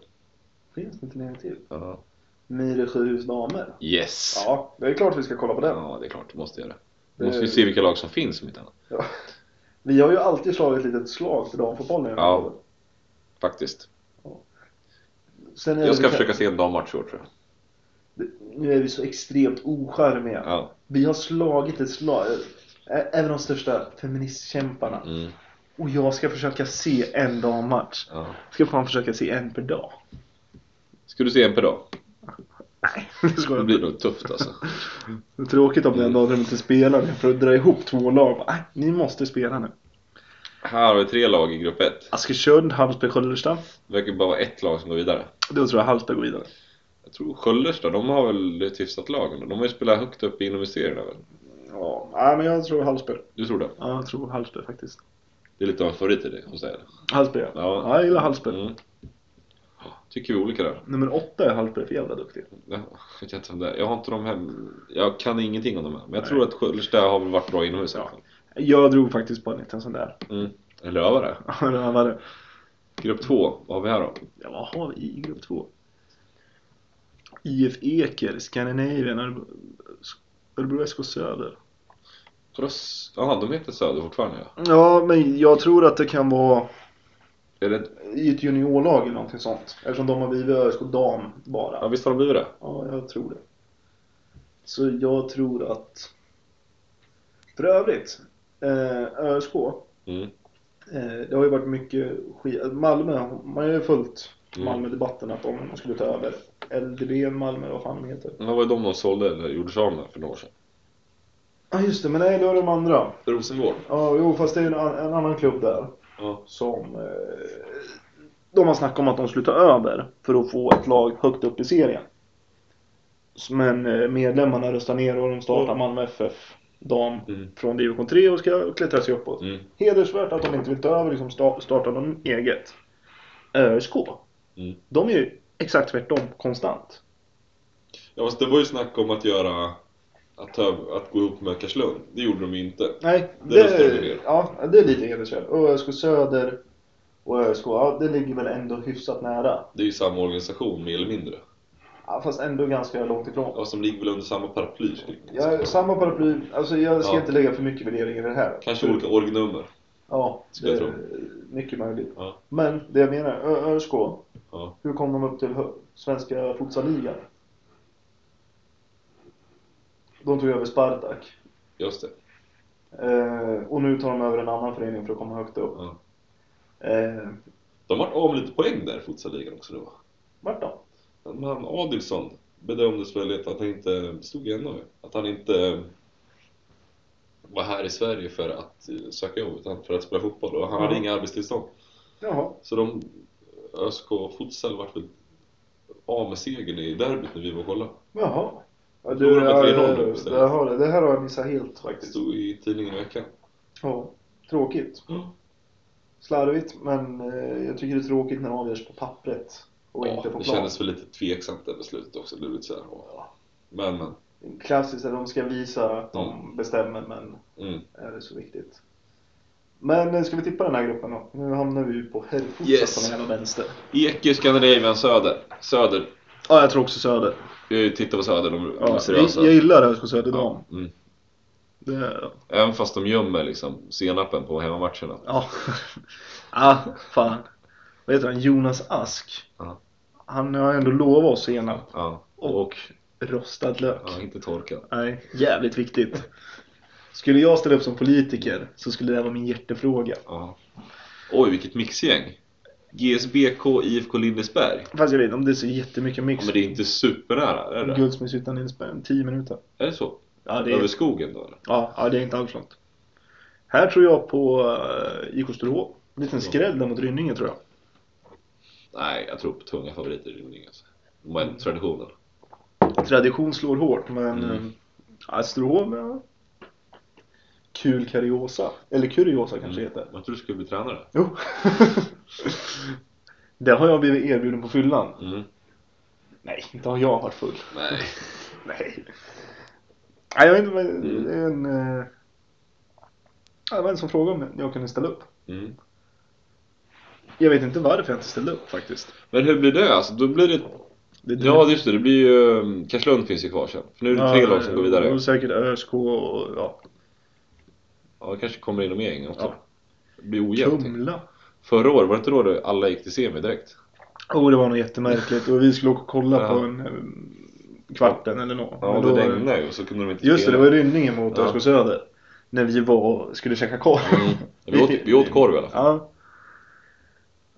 B: Finns det inte en till?
C: Ja.
B: Myre Sjöhus damer.
C: Yes!
B: Ja, det är klart vi ska kolla på den.
C: Ja, det är klart. Du måste göra det.
B: Det-
C: Du måste ju se vilka lag som finns om inte annat.
B: Ja. Vi har ju alltid slagit ett litet slag för damfotbollen. i den här
C: Ja.
B: podden.
C: Faktiskt.
B: Sen är det
C: Jag ska
B: väl-
C: försöka se en dammatch i år tror jag.
B: Nu är vi så extremt ocharmiga.
C: Ja.
B: Vi har slagit ett slag. Ä- Även de största feministkämparna.
C: Mm.
B: Och jag ska försöka se en dammatch.
C: ja.
B: Ska fan försöka se en per dag.
C: Ska du se en per dag?
B: Nej, det ska
C: Det
B: jag
C: blir
B: inte.
C: nog tufft alltså.
B: Det är tråkigt om det är en dag där de inte spelar det, för att dra ihop två lag. Bara, Nej, ni måste spela nu.
C: Här har vi tre lag i grupp 1.
B: Askersund, Halmstad, Sköldersta.
C: Det verkar bara vara ett lag som går vidare.
B: Då tror jag Halmstad går vidare.
C: Jag tror Sköllersta, de har väl ett hyfsat lag ändå. De har ju spelat högt upp inom serierna väl?
B: Ja, nej, men jag tror Halmstad.
C: Du tror det?
B: Ja, jag tror Halmstad faktiskt.
C: Det är lite av en favorit i dig hos er.
B: Halmstad ja.
C: Ja.
B: ja. Jag gillar Halmstad.
C: Mm. Tycker vi olika där.
B: Nummer åtta är Halmstad för jävla duktig.
C: Jag vet inte om det är. Jag har inte dem hem. Jag kan ingenting om dem här. Men jag
B: Nej.
C: tror att Sköllersta har väl varit bra inomhus i alla
B: Ja.
C: fall.
B: Jag drog faktiskt på en liten sån där.
C: Mm. En lövare.
B: Ja, det här var det.
C: Grupp 2, vad har vi här då?
B: Ja, vad har vi i grupp två? IF Eker, Scandinavian, Örebro, Örebro SK Söder.
C: Röss... Jaha, de heter Söder fortfarande ja.
B: Ja, men jag tror att det kan vara
C: Är det...
B: i ett juniorlag eller någonting sånt. Eftersom de har blivit ÖSK dam
C: ja
B: bara.
C: visst har de blivit det?
B: Ja, jag tror det. Så jag tror att... För övrigt, eh, ÖSK.
C: Mm.
B: Eh, det har ju varit mycket skit. Malmö, man har ju följt
C: Mm.
B: Malmödebatten att de skulle ta över LDB Malmö, vad fan de heter.
C: Men var det de de sålde eller gjorde sig av med för några år sedan?
B: Ja ah, just det, men nej det var de andra.
C: Rosengård?
B: Ja, jo fast det är en, an- en annan klubb där.
C: Ja.
B: Som... Eh, de har snackat om att de skulle ta över för att få ett lag högt upp i serien. S- Men eh, medlemmarna röstar ner och de startar
C: Mm.
B: Malmö FF dam
C: Mm.
B: från division 3 och ska klättra sig uppåt.
C: Mm.
B: Hedersvärt att de inte vill ta över liksom sta- starta någon eget. ÖSK.
C: Mm.
B: De är ju exakt tvärtom konstant.
C: Ja fast det var ju snack om att göra... Att, ta- att gå ihop med Karlslund. Det gjorde de ju inte.
B: Nej,
C: Det
B: det,
C: röstar vi ner.
B: ja, det är lite hedersvärt. Och ÖSK Söder och ÖSK, ja, det ligger väl ändå hyfsat nära.
C: Det är ju samma organisation mer eller mindre.
B: Ja, fast ändå ganska långt ifrån.
C: Ja, som ligger väl under samma paraply. skulle jag säga.
B: Jag, samma paraply, alltså jag ska
C: Ja.
B: inte lägga för mycket värderingar i det här.
C: Kanske olika orgnummer.
B: Ja,
C: Ska
B: det
C: jag
B: är
C: tro.
B: mycket möjligt.
C: Ja.
B: Men det jag menar, Ö- ÖSK,
C: Ja.
B: hur kom de upp till hö- svenska futsalligan? De tog över Spartak.
C: Just det.
B: Eh, och nu tar de över en annan förening för att komma högt upp.
C: Ja.
B: Eh,
C: De vart av med lite poäng där i futsalligan också då.
B: vart då?
C: Men han Adilson bedömdes väl att han inte, stod i NHV, att han inte eh, var här i Sverige för att eh, söka jobb utan för att spela fotboll och han hade
B: Ja.
C: inga arbetstillstånd.
B: Jaha.
C: Så de, ÖSK futsal vart väl av med segern i derbyt när vi var och kollade.
B: Jaha. Ja,
C: Då
B: du,
C: var det
B: jag,
C: med 3-0
B: jag,
C: då, istället.
B: jag har det. Det här har jag missat helt
C: Det
B: faktiskt.
C: stod i tidningen i veckan.
B: Ja, tråkigt.
C: Ja.
B: Slarvigt, men eh, jag tycker det är tråkigt när det avgörs på pappret och inte på
C: det
B: plan.
C: kändes väl lite tveksamt det beslutet också. Det blev lite så här, ja. Men men.
B: Klassiskt att de ska visa att de bestämmer, men
C: Mm.
B: är det så viktigt? Men eh, ska vi tippa den här gruppen då? Nu hamnar vi ju på herrfutsal
C: Yes.
B: på den jävla vänster.
C: Eker, Scandinavian, Söder. Söder.
B: Ja, jag tror också Söder.
C: Jag tittar på Söder, de, de är
B: Ja, jag,
C: seriösa.
B: jag gillar ÖSK Söder
C: Ja,
B: dam.
C: mm.
B: Det är-
C: Även fast de gömmer liksom senapen på hemmamatcherna.
B: Ja. ah, fan. Vad heter han? Jonas Ask.
C: Ja.
B: Han har ändå lovat oss senap
C: Ja,
B: och, rostad lök.
C: ja inte torkad.
B: Nej, jävligt viktigt. Skulle jag ställa upp som politiker så skulle det här vara min hjärtefråga.
C: Ja. Oj, vilket mixgäng. GSBK, IFK Lindesberg.
B: Fast jag vet inte om det är så jättemycket
C: Ja,
B: mix.
C: men det är inte supernära, är det?
B: Guldsmedshyttan Lindesberg, 10 minuter.
C: Är det så?
B: Ja det,
C: Över
B: är,
C: skogen då eller?
B: ja, ja, det är inte alls långt. Här tror jag på eh, IK Storå. Liten skräll där mot Rynninge tror jag.
C: Nej, jag tror på tunga favoriter i Rymling alltså. Men traditionen.
B: Tradition slår hårt men
C: Mm.
B: mm. ja, Storå, ja. Kul kuriosa. Eller kuriosa kanske heter.
C: Jag tror du skulle bli tränare.
B: Jo. det har jag blivit erbjuden på fyllan.
C: Mm.
B: Nej, inte har jag varit full.
C: Nej.
B: Nej. Nej, jag vet inte. men
C: Mm.
B: Det är en... eh, ja, Det var en som frågade om jag kunde ställa upp.
C: Mm.
B: Jag vet inte varför jag inte ställde upp faktiskt.
C: Men hur blir det alltså? Då blir det...
B: Det är
C: Ja, just det. Det blir ju... um, Karlslund finns ju kvar sen. För nu är det tre lag som
B: Ja,
C: går vidare.
B: och säkert ÖSK och ja,
C: Ja, det kanske kommer in de egna också.
B: Ja.
C: Det blir ojämnt.
B: Kumla.
C: Förra året, var det inte då det- alla gick till semi direkt?
B: Oh, det var nog jättemärkligt och vi skulle åka och kolla
C: Ja.
B: på en eh, kvarten eller något.
C: Ja,
B: Men
C: det
B: då var det-
C: regnade ju och så kunde de inte
B: Just det, det
C: spela.
B: var Rynningen mot
C: Ja.
B: ÖSK Söder. När vi var och skulle käka korv.
C: Mm. Vi, åt, vi åt korv i alla fall.
B: Ja.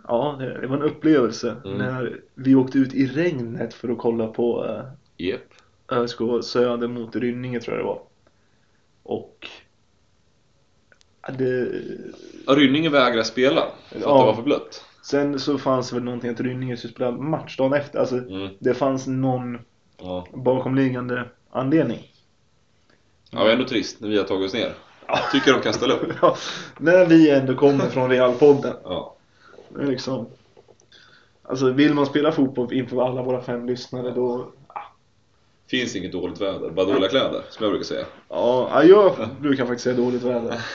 B: Ja, det det var en upplevelse
C: Mm.
B: när vi åkte ut i regnet för att kolla på eh,
C: Jep.
B: ÖSK Söder mot Rynninge tror jag det var. Och... ja, Det,
C: Ja, Rynninge vägrar spela för att
B: Ja.
C: det var för blött.
B: sen så fanns det väl någonting att Rynninge skulle spela match dagen efter. Alltså,
C: Mm.
B: det fanns någon
C: Ja.
B: bakomliggande anledning.
C: ja, det är ändå trist när vi har tagit oss ner. Tycker de kan ställa upp.
B: Ja, när vi ändå kommer från Realpodden.
C: Ja.
B: det är Liksom. Alltså vill man spela fotboll inför alla våra fem lyssnare då...
C: Finns inget dåligt väder, bara dåliga kläder, som jag brukar säga.
B: Ja, ja, jag brukar faktiskt säga dåligt väder.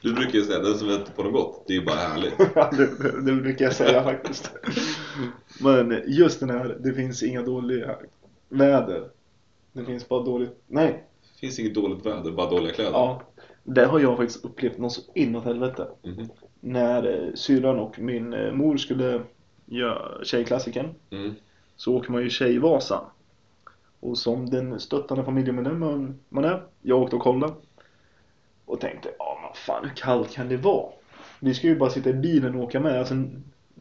C: Du brukar ju säga den som väntar på något gott, det är ju bara härligt.
B: Ja, det, det, det brukar jag säga faktiskt. Men just den här, det finns inga dåliga väder. Det finns bara dåligt... Nej!
C: Finns inget dåligt väder, bara dåliga kläder.
B: Ja. Det har jag faktiskt upplevt något så inåt helvete.
C: Mhm.
B: När eh, syrran och min eh, mor skulle göra Tjejklassikern
C: Mm.
B: så åker man ju Tjejvasan. Och som den stöttande familjemedlem man, man är, jag åkte och kollade. Och tänkte, ja men fan hur kallt kan det vara? Vi ska ju bara sitta i bilen och åka med. Alltså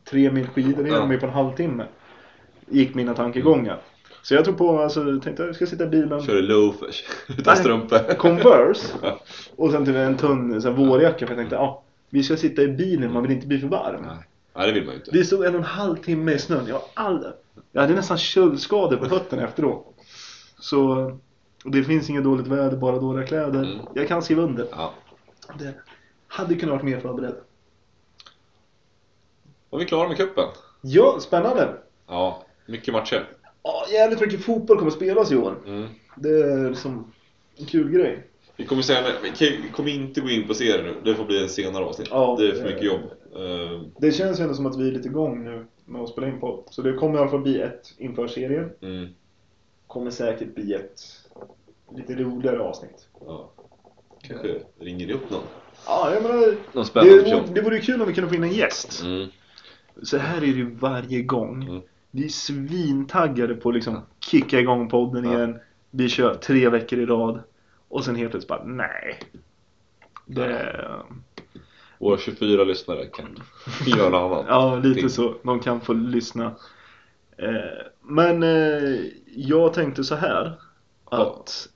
B: tre mil skidor är
C: Ja.
B: de ju på en halvtimme. Gick mina tankegångar. Så jag tog på, alltså tänkte jag ska sitta i bilen.
C: Kör i loafers, utan
B: Nej.
C: strumpor.
B: Converse.
C: Ja.
B: Och sen typ en tunn så här, vårjacka för jag tänkte, ja vi ska sitta i bilen, man vill inte bli för varm.
C: Nej. Nej, det vill man ju inte.
B: Vi stod en och en halv timme i snön. Jag, var all... jag hade nästan köldskador på fötterna efteråt. Så och det finns inget dåligt väder, bara dåliga kläder.
C: Mm.
B: Jag kan skriva under.
C: Ja.
B: Det hade kunnat varit mer förberedd.
C: Var vi klara med cupen?
B: Ja, spännande.
C: Ja, mycket matcher.
B: Ja, jävligt mycket fotboll kommer spelas i år.
C: Mm.
B: Det är liksom en kul grej.
C: Vi kommer, säga, vi kan- vi kommer inte gå in på serien nu, det får bli en senare avsnitt.
B: Ja,
C: det är för
B: det-
C: mycket jobb. Eh,
B: Det känns ju ändå som att vi är lite igång nu med att spela in på. Så det kommer i alla fall bli ett inför serien.
C: Mm.
B: Kommer säkert bli ett lite roligare avsnitt.
C: Ja. Kanske ringer ni upp någon.
B: Ja, jag menar,
C: Någon
B: det, det vore ju kul om vi kunde få in en gäst.
C: Mm.
B: Så här är det ju varje gång.
C: Mm.
B: Vi är svintaggade på att liksom kicka igång podden
C: Ja.
B: igen. Vi kör tre veckor i rad. Och sen helt plötsligt bara nej. Det,
C: Våra 24 lyssnare kan göra något annat.
B: ja, lite
C: Ting.
B: så. De kan få lyssna. Eh, Men eh, jag tänkte så här. Att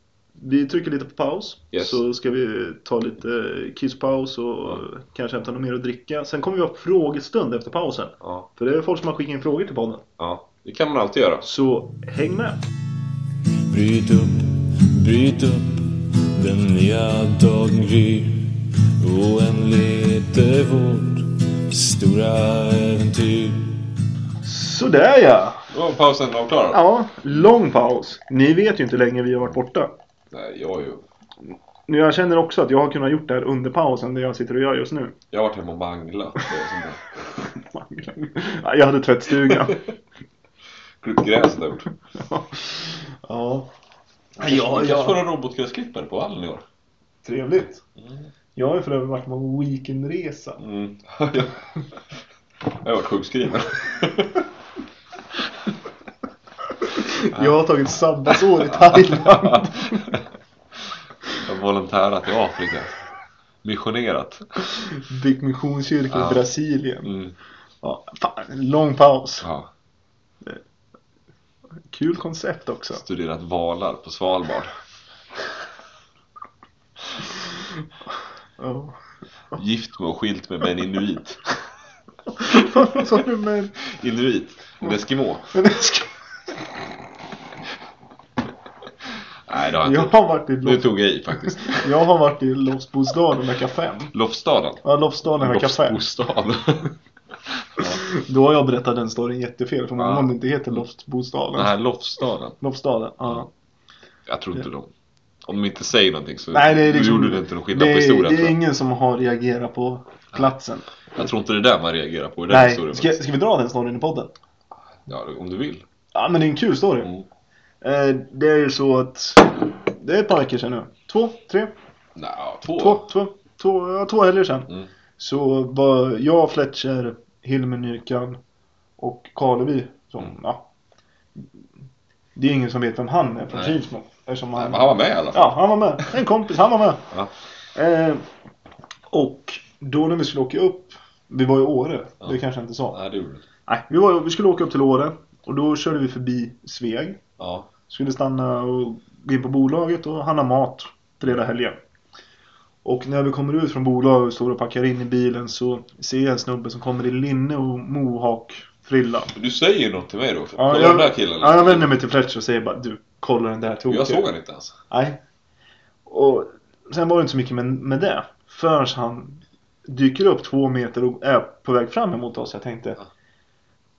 B: vi trycker lite på paus.
C: Yes.
B: Så ska vi ta lite kisspaus och kanske hämta något mer att dricka. Sen kommer vi ha frågestund efter pausen.
C: Ja,
B: För det är folk som har skickat in frågor till podden.
C: ja, det kan man alltid göra.
B: Så häng med!
A: Bryt upp, bryt upp Den nya dagen gryr Oändligt är vårt stora äventyr
B: Sådär ja!
C: Då var pausen avklarad.
B: Ja, lång paus. Ni vet ju inte hur länge vi har varit borta.
C: Nej, jag, är ju,
B: Nu, Jag känner också att jag har kunnat gjort det här under pausen, det jag sitter och gör just nu.
C: jag har varit hemma och manglat. Det är som det-
B: Ja, Jag hade tvättstugan.
C: Klippt gräs har jag gjort.
B: Ja,
C: Vi
B: ja.
C: kanske får en robotgräsklippare på vallen i år.
B: trevligt. Jag har ju för övrigt varit på en weekendresa.
C: Mm. jag har varit sjukskriven.
B: Jag har tagit sabbatsår i Thailand.
C: Jag har volontärat i Afrika. Missionerat.
B: Fick missionskyrka
C: Ja.
B: i Brasilien.
C: Mm.
B: Ja, fan, lång paus.
C: Ja.
B: Kul koncept också.
C: Studerat valar på Svalbard.
B: Ja.
C: Gift mig och skilt mig med en inuit.
B: Vad sa du med
C: Inuit? En eskimo?
B: en esk-
C: Nej, det har jag
B: Jag
C: inte.
B: har varit i
C: Nu
B: Los,
C: tog jag i faktiskt.
B: jag har varit i Lofsbostaden vecka 5.
C: Lofsstaden.
B: Ja, Lofsdalen vecka 5.
C: Lofsbostad.
B: Då har jag berättat den storyn jättefel för man
C: Ja.
B: undrar om det inte heter Lofsbostaden.
C: Den här Lofsstaden.
B: Lofsdalen, ja.
C: Jag tror inte de. Om de inte säger någonting så
B: Nej, det är
C: då
B: liksom,
C: gjorde det inte någon skillnad
B: det,
C: på historien.
B: Det är
C: tror
B: ingen som har reagerat på platsen.
C: jag. jag tror inte det är där man reagerar på i den
B: Nej,
C: historien.
B: ska, ska vi dra den storyn i podden?
C: Ja, om du vill.
B: Ja, men det är en kul story.
C: Mm.
B: Eh, det är ju så att det är ett par veckor sedan nu. Två, tre,
C: Nja, två.
B: två, två, två, ja, två helger sedan.
C: Mm.
B: Så var jag, Fletcher, Hilmer Nyrkan och Karleby som,
C: Mm.
B: ja. Det är ingen som vet vem han är från
C: Nej.
B: Kilsmo. Eftersom
C: Nej,
B: han,
C: men han var med i alla fall.
B: Ja, han var med. En kompis, han var med.
C: Ja.
B: Eh, och då när vi skulle åka upp, vi var i Åre,
C: Ja.
B: det kanske jag inte sa.
C: Nej, det gjorde du inte.
B: Nej, vi, var, vi skulle åka upp till Åre Och då körde vi förbi Sveg.
C: Ja.
B: Skulle stanna och gå in på bolaget och handla mat fredag helgen. Och när vi kommer ut från bolaget och står och packar in i bilen så ser jag en snubbe som kommer i linne och mohawk-frilla.
C: Men du säger något till mig då. För
B: Ja,
C: kolla
B: jag-
C: den där killen.
B: Ja, jag vänder mig till Fletcher och säger bara du, kolla den där token.
C: jag såg han inte ens.
B: Nej. Och sen var det inte så mycket med, med det. Förrän han dyker upp två meter och är på väg fram emot oss. Jag tänkte,
C: Ja.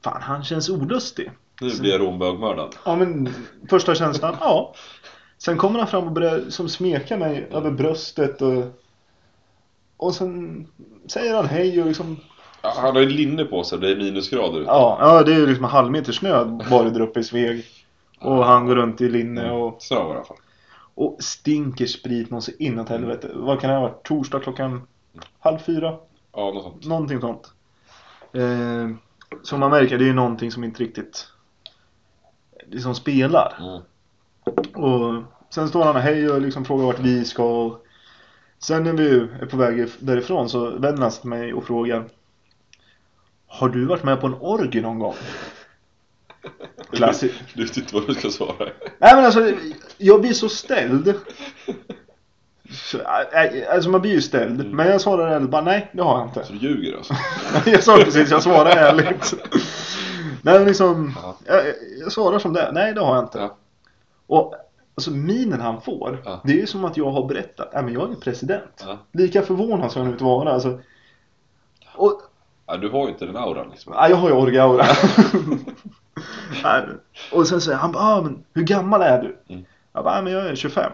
B: fan han känns olustig.
C: Nu
B: Så-
C: blir jag rombögmördad.
B: Ja men första känslan, ja. Sen kommer han fram och börjar som smeka mig över bröstet och... Och sen säger han hej och liksom...
C: Ja, han har ju linne på sig. Det är minusgrader ute.
B: Ja, ja det är ju liksom en halvmeter snö bara där uppe i Sveg. Och han går runt i linne och...
C: Så var det i alla fall.
B: Och stinker sprit något så inåt helvete. Vad kan det ha varit? Torsdag klockan halv fyra?
C: Ja, något sånt.
B: Någonting sånt. Eh, som man märker, det är ju någonting som inte riktigt liksom spelar.
C: Mm.
B: Och sen står han och hej och liksom frågar vart vi ska. Sen när vi är på väg därifrån så vänder han sig till mig och frågar Har du varit med på en orgie någon gång? Klassisk.
C: Du vet inte vad du ska svara.
B: Nej men alltså, jag blir så ställd. Så, äh, Alltså man blir ju ställd.
C: Mm.
B: Men jag svarar ärligt bara nej, det har jag inte.
C: Så du ljuger alltså?
B: jag sa precis, jag svarar ärligt. Nej men liksom,
C: Ja.
B: jag, jag svarar som det är. Nej det har jag inte.
C: Ja.
B: Och alltså minen han får,
C: Ja.
B: det är ju som att jag har berättat. Nej men jag är president.
C: Ja.
B: Lika förvånad som jag nu inte vara. Alltså. Och,
C: Ja, du har ju inte den auran liksom.
B: nej, jag har ju orgaura. Nej, och sen säger han bara, ah, men hur gammal är du?
C: Mm.
B: Jag bara, "Ah, men jag är 25.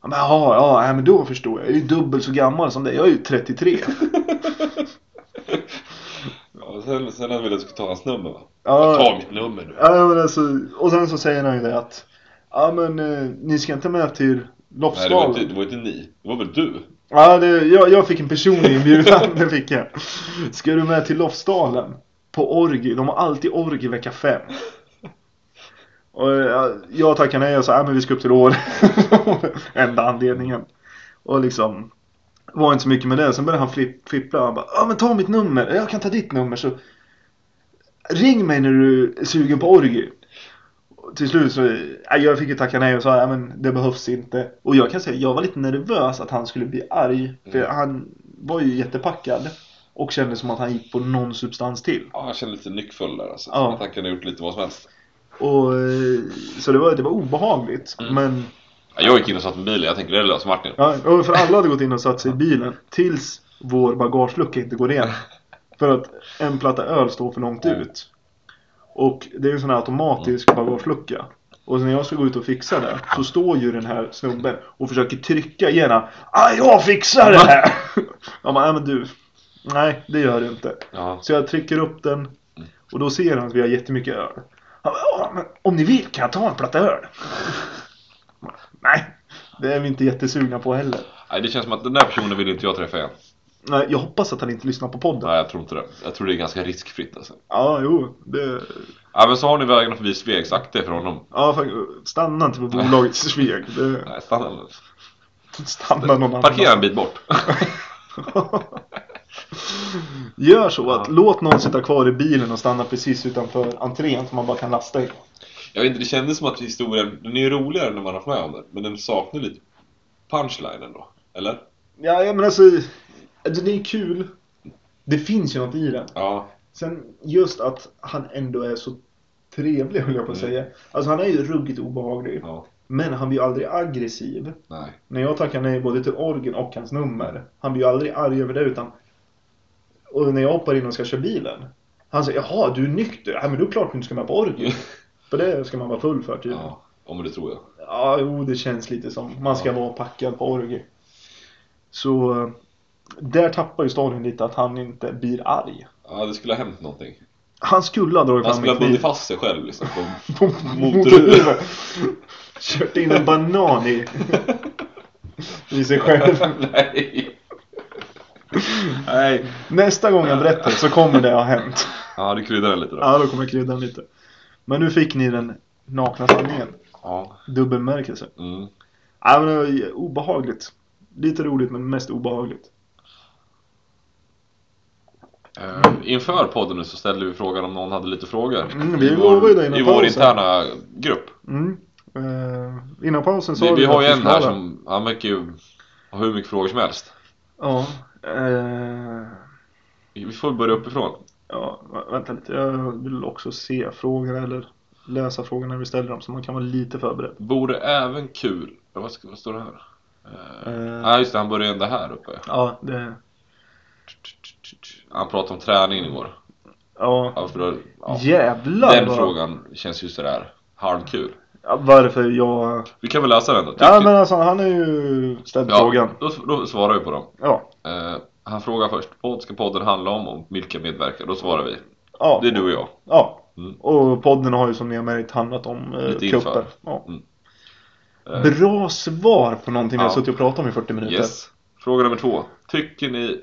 B: Han bara, ja, ja, nej, men då förstår jag. Jag är ju dubbelt så gammal som dig. Jag är ju 33.
C: Ja, och sen, sen vill jag att du ska ta hans nummer va?
B: Ja.
C: Ta mitt nummer nu.
B: Ja, men alltså, och sen så säger han ju det att Ja men eh, ni ska inte med till
C: Nej, det var,
B: loppsdalen.
C: inte, det var inte ni. Det var väl du?
B: Ja, det, jag, jag fick en personlig inbjudan, det fick jag. Ska du med till Lofsdalen? På orgi, de har alltid orgi vecka fem. Och jag, jag tackar nej och sa, nej men vi ska upp till Åre. Enda anledningen. Och liksom, var inte så mycket med det. Sen började han flipp, flippla, han bara, ja men ta mitt nummer, jag kan ta ditt nummer så ring mig när du är sugen på orgi. Och Till slut så, nej, jag fick ju tacka nej och sa nej men det behövs inte. Och jag kan säga, jag var lite nervös att han skulle bli arg. För
C: Mm.
B: han var ju jättepackad. Och kände som att han gick på någon substans till.
C: Ja, jag kände lite nyckfull där alltså.
B: Ja.
C: Att han kunde ha gjort lite vad som helst.
B: Och, eh, så det var, det var obehagligt.
C: Mm.
B: Men
C: Ja, jag gick in och satt med bilen. Jag tänkte det löser Martin.
B: ja, och för alla hade gått in och satt sig i bilen. Tills vår bagagelucka inte går igen. För att en platta öl står för långt
C: Mm.
B: ut. Och det är ju en sån här automatisk bagagelucka. Och när jag ska gå ut och fixa det så står ju den här snubben och försöker trycka igen. Ah, jag fixar det här! Jag bara, nej men du. Nej, det gör du inte.
C: Ja.
B: Så jag trycker upp den och då ser han att vi har jättemycket öl. Han bara, "Ja, men om ni vill kan jag ta en platta öl. Nej, det är vi inte jättesugna på heller.
C: Nej, det känns som att den där personen vill inte jag träffa igen.
B: Nej, jag hoppas att han inte lyssnar på podden.
C: Nej, jag tror inte det. Jag tror det är ganska riskfritt alltså.
B: Ja, jo. Det...
C: Ja, men så har ni vägarna förbi Sveg. Sakta ifrån honom.
B: Ja, fan, stanna inte på bolagets sveg. Det...
C: Nej, stanna.
B: Stanna någon
C: Parkera en
B: annanstans.
C: bit bort.
B: Gör så att låt någon sitta kvar i bilen och stanna precis utanför entrén som man bara kan lasta i.
C: Jag vet inte, det kändes som att historien, den är ju roligare när man har varit med om den. Men den saknar lite punchline ändå. Eller?
B: Ja, ja, men alltså. Det är kul. Det finns ju något i den.
C: Ja.
B: Sen just att han ändå är så trevlig höll jag på att
C: Mm.
B: säga. Alltså han är ju ruggigt obehaglig.
C: Ja.
B: Men han blir ju aldrig aggressiv.
C: Nej.
B: När jag tackar nej både till orgen och hans nummer. Han blir ju aldrig arg över det utan... Och när jag hoppar in och ska köra bilen. Han säger jaha du är nykter? Ja men då är det klart du inte ska med på orgen. För det ska man vara full för tydligen. Ja.
C: Ja. Om det tror jag.
B: ja jo det känns lite som man ska vara packad på orgen. Så... eh, Där tappar ju storyn lite att han inte blir arg.
C: Ja, det skulle ha hänt någonting.
B: Han skulle ha dragit fram
C: Han skulle
B: en
C: ha bundit
B: kniv.
C: fast sig själv liksom. På...
B: på motorhuven. Kört in en banan i, i sig själv.
C: Nej.
B: Nej. Nästa gång jag berättar så kommer det ha hänt.
C: Ja, du kryddar den lite då.
B: Ja, då kommer jag krydda den lite. Men nu fick ni den nakna sanningen.
C: Ja.
B: Dubbelmärkelse.
C: Mm.
B: Ja, men det var ju obehagligt. Lite roligt men mest obehagligt.
C: Eh, inför podden nu så ställde vi frågan om någon hade lite frågor.
B: Mm, vi
C: I
B: lovade ju det
C: vår,
B: innan
C: i vår
B: pausen.
C: interna grupp.
B: Mm. Eh, innan pausen sa
C: Vi,
B: du
C: vi har
B: att
C: ju
B: vi
C: en
B: ska
C: här
B: ha-
C: som, han verkar ju ha hur mycket frågor som helst.
B: Ja. eh,
C: Vi får börja uppifrån.
B: ja, vä- vänta lite. Jag vill också se frågor eller läsa frågor när vi ställer dem så man kan vara lite förberedd.
C: Borde även kul... Vad, ska, vad står det här? Eh,
B: Eh,
C: Nej just det, han började ändå här uppe.
B: Ja, det...
C: Han pratade om träningen igår.
B: Ja.
C: Ja, för då, ja.
B: Jävlar
C: Den
B: vad-
C: frågan känns ju sådär halvkul.
B: Ja, varför jag...
C: Vi kan väl läsa den då?
B: Ja men alltså han är ju ställt
C: ja
B: frågan.
C: då, då svarar vi på dem.
B: Ja.
C: Eh, han frågar först, vad ska podden handla om och vilka medverkar? Då svarar vi.
B: Ja.
C: Det är du och jag.
B: ja.
C: Mm.
B: Och podden har ju som ni har märkt handlat om eh,
C: Lite
B: cupen.
C: inför. Mm.
B: Ja.
C: Eh,
B: Bra svar på någonting vi har
C: Ja.
B: suttit och pratat om i 40 minuter.
C: Yes. Fråga nummer två. Tycker ni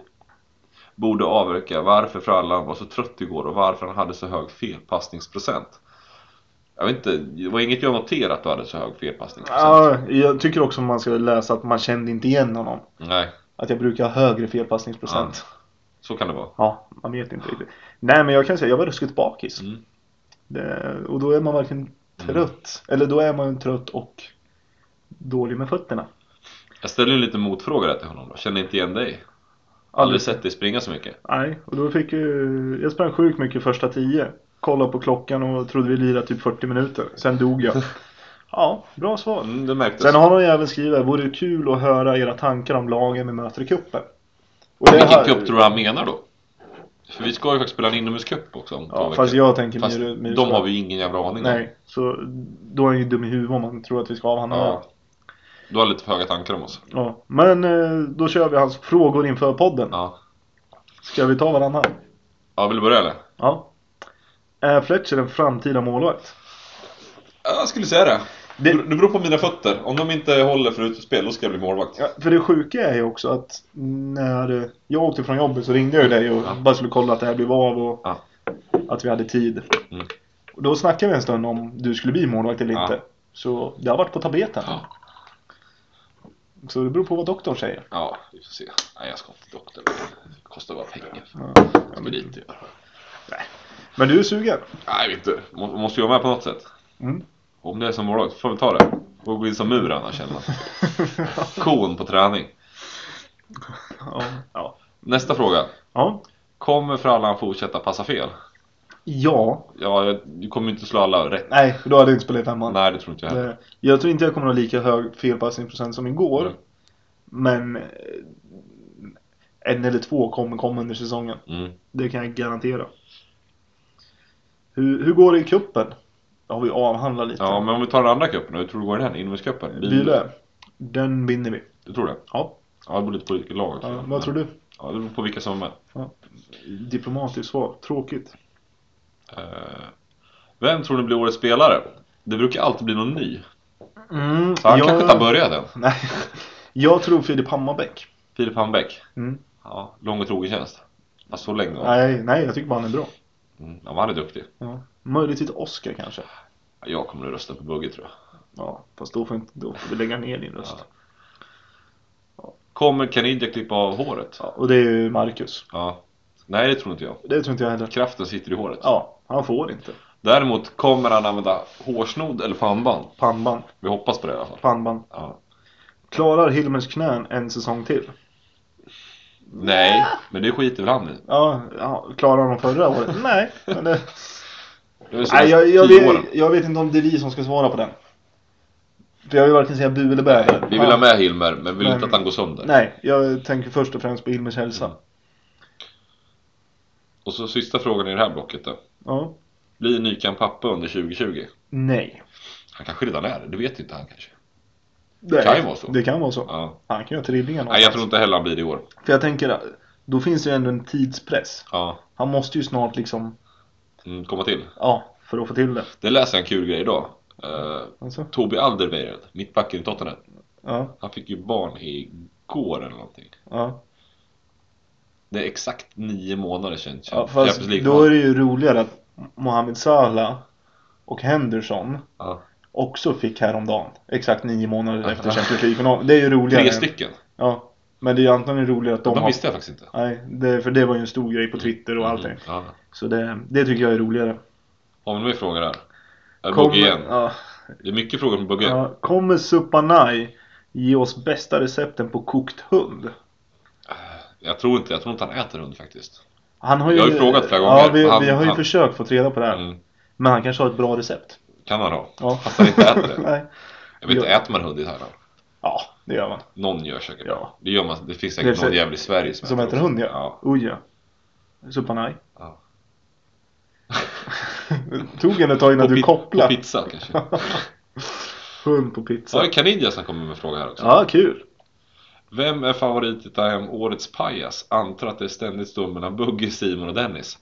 C: borde avverka varför Frallan var så trött igår och varför han hade så hög felpassningsprocent? Jag vet inte, det var inget jag noterat att du hade så hög felpassningsprocent.
B: Ja, jag tycker också man ska läsa att man kände inte igen honom.
C: Nej,
B: Att jag brukar ha högre felpassningsprocent.
C: så kan det vara.
B: Ja, man vet inte riktigt. Nej men jag kan säga, jag var ruskigt bakis.
C: Mm.
B: Det, och då är man varken trött, eller då är man trött och dålig med fötterna.
C: Jag ställer ju lite motfråga där till honom då. Känner inte igen dig. Aldrig sett dig springa så mycket.
B: Nej, och då fick ju, jag sprang sjukt mycket första tio. Kollade på klockan och trodde vi lirade typ 40 minuter. Sen dog jag. Ja, bra svar.
C: Mm, det märktes.
B: Sen har någon även skrivit, vore det kul att höra era tankar om lagen vi möter i cupen? Och det
C: Vilken
B: här-
C: cup tror du han menar då? För vi ska ju faktiskt spela en inomhuscup också om två
B: Ja,
C: veckor.
B: fast jag tänker
C: Fast
B: Myre- Myre-
C: de har vi ju ingen jävla aning om.
B: Nej, så då är han ju dum i huvudet om man tror att vi ska avhandla
C: Ja.
B: det.
C: Du har lite för höga tankar om oss.
B: Ja. Men eh, då kör vi hans frågor inför podden.
C: Ja.
B: Ska vi ta varannan?
C: ja, vill du börja eller?
B: Ja. Är Fletcher en framtida målvakt?
C: Ja, Jag skulle säga det.
B: Det-
C: Det det beror på mina fötter. Om de inte håller för utespel, då ska jag bli målvakt.
B: Ja, för det sjuka är ju också att när jag åkte från jobbet så ringde jag ju dig och
C: Ja.
B: bara skulle kolla att det här blev av och
C: Ja.
B: att vi hade tid.
C: Mm.
B: Och då snackade vi en stund om du skulle bli målvakt eller
C: Ja.
B: inte. Så det har varit på tapeten.
C: Ja.
B: Så det beror på vad doktorn säger.
C: Ja, vi får se. Nej, jag ska inte till doktorn. Det kostar bara pengar.
B: Ja.
C: Jag ska dit och göra.
B: Men du är sugen?
C: Nej, jag vet inte. Må- Måste ju vara med på något sätt.
B: Mm.
C: Om det är som målvakt, får vi ta det. Får gå in som mur annars, känner man. Kon på träning.
B: ja. Ja.
C: Nästa fråga.
B: ja.
C: Kommer Frallan fortsätta passa fel?
B: Ja.
C: Ja, jag- du kommer ju inte slå alla rätt.
B: Nej, för då hade jag inte spelat i femman.
C: Nej, det tror inte jag heller.
B: Det- Eh, Jag tror inte jag kommer att ha lika hög felpassningsprocent som igår.
C: Mm.
B: Men eh, en eller två kommer komma under säsongen.
C: Mm.
B: Det kan jag garantera. Hur, hur går det i kuppen? Det har vi avhandlat lite.
C: Ja, men om vi tar den andra cupen då, hur tror du det går i den? Inomhuscupen?
B: Bylö, den vinner vi.
C: Du tror det?
B: Ja.
C: Ja, det beror lite på vilket lag också.
B: ja vad tror du?
C: Ja, det beror på vilka som är med.
B: Diplomatiskt svar. Tråkigt.
C: Eh, Vem tror ni blir årets spelare? Det brukar alltid bli någon ny.
B: Mm,
C: Så han kanske inte har börjat än.
B: Nej. Jag tror Filip Hammarbäck.
C: Filip Hammarbäck.
B: Mm.
C: Ja, lång och trogen tjänst. Ja, så länge då.
B: Nej, nej, jag tycker bara han är bra.
C: Mm, ja, men han är duktig.
B: Ja. Möjligtvis Oscar kanske.
C: Ja, Jag kommer att rösta på Bugge tror jag.
B: Ja, fast då får, inte, då får vi lägga ner din röst.
C: Ja. Kommer Kanidja klippa av håret?
B: Ja, och det är ju Marcus.
C: Ja. Nej, det tror inte jag.
B: Det tror inte jag heller.
C: Kraften sitter i håret.
B: Ja, han får inte.
C: Däremot kommer han använda hårsnodd eller pannband.
B: Pannband,
C: Vi hoppas på det i alla fall.
B: pannband.
C: Ja.
B: Klarar Hilmers knän en säsong till?
C: Nej, men det skiter väl han i.
B: Ja, ja klarar han dem förra året? Nej. Men det...
C: Det är väl
B: Nej jag, jag,
C: senaste tio åren.
B: vet, jag vet inte om det är vi som ska svara på den. För jag vill varken säga bu eller bä.
C: Vi vill ha med Hilmer, men vill
B: Men-
C: inte att han går sönder.
B: Nej, jag tänker först och främst på Hilmers hälsa.
C: Mm. Och så sista frågan i det här blocket då.
B: Ja.
C: Blir Nykan pappa under 2020?
B: Nej.
C: Han kanske redan är det, det vet inte han kanske.
B: Det
C: kan ju vara så.
B: Det kan vara så.
C: Ja.
B: Han kan göra trillingar
C: Nej, jag
B: någonstans.
C: tror inte heller han blir det i år.
B: För jag tänker, då finns det ju ändå en tidspress.
C: Ja.
B: Han måste ju snart liksom,
C: Mm, komma till.
B: ja, för att få till det.
C: Det läser jag en kul grej idag. Uh,
B: Alltså,
C: Tobi Alderweireld, mittbacken i Tottenham.
B: ja,
C: Han fick ju barn igår eller någonting.
B: ja.
C: Det är exakt nio månader sedan
B: ja
C: Champions
B: fast
C: League.
B: då är det ju roligare att Mohamed Salah och Henderson
C: ja.
B: också fick häromdagen. Exakt nio månader
C: Ja.
B: efter Champions League-finalen. Det är ju roligare.
C: Tre
B: än-
C: stycken.
B: Ja. Men det är ju antagligen roligare att de,
C: De,
B: har...
C: visste jag faktiskt inte.
B: Nej, det, för det var ju en stor grej på Twitter och allting.
C: Mm, ja.
B: Så det, det tycker jag är roligare.
C: Har vi mer frågor här? Är Bogge igen?
B: ja,
C: Det är mycket frågor från Bogge.
B: ja, kommer Supanai ge oss bästa recepten på kokt hund?
C: Jag tror inte, jag tror inte han äter hund faktiskt.
B: Han har ju,
C: Jag har ju frågat flera
B: Ja,
C: gånger.
B: vi,
C: Han-
B: vi har ju
C: han-
B: försökt få reda på det här.
C: Mm,
B: Men han kanske har ett bra recept.
C: kan han ha.
B: Ja.
C: Fast han inte äter det.
B: Nej.
C: Jag vet inte,
B: Ja.
C: äter man hund i Thailand?
B: Ja, det gör man.
C: Någon gör säkert
B: Ja.
C: det. Det, gör man, det finns säkert
B: Det är
C: någon
B: så-
C: jävel i Sverige som,
B: Som äter
C: också.
B: hund ja. Oj ja. Supanai.
C: Ja.
B: Det tog en ett tag innan
C: På
B: du
C: pi- På
B: kopplade.
C: pizza kanske.
B: Hund på
C: Så har
B: pizza.
C: vi Canidia som kommer med en fråga här också.
B: Ja, kul.
C: Vem är favorit i Time Årets Pajas? Antar att det ständigt står mellan Bugge, Simon och Dennis.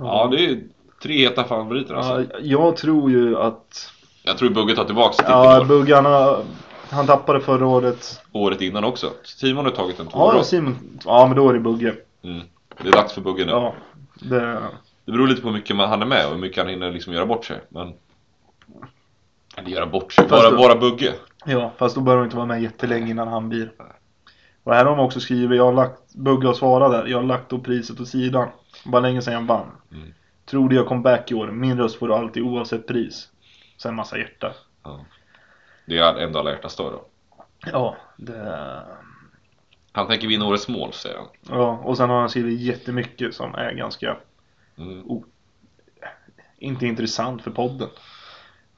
C: Ja, det är ju tre heta favoriter alltså.
B: Ja, jag tror ju att...
C: Jag tror Bugge tar tillbaka sitt
B: Ja,
C: år.
B: buggarna... Han tappade förra året.
C: året innan också. Simon har tagit en två
B: Ja,
C: år.
B: och Simon. Ja, men då är det Bugge.
C: Mm. Det är dags för Bugge nu.
B: Ja. Det...
C: Det beror lite på hur mycket man han är med och hur mycket han hinner liksom göra bort sig. Men... Eller göra bort sig,
B: Fast
C: bara,
B: då-
C: bara Bugge.
B: ja, fast då behöver han inte vara med jättelänge innan han blir. Och här har de också skrivit, jag har lagt, Bugge har svarat där, jag har lagt då priset åt sidan. Bara länge sedan jag vann.
C: Mm.
B: Tror du jag kom back i år, min röst får du alltid oavsett pris. Sen massa hjärta.
C: Det är ändå alla hjärtans dag då.
B: Ja, det...
C: Han tänker vinna årets mål, säger han.
B: Ja, och sen har han skrivit jättemycket som är ganska,
C: Mm.
B: inte intressant för podden.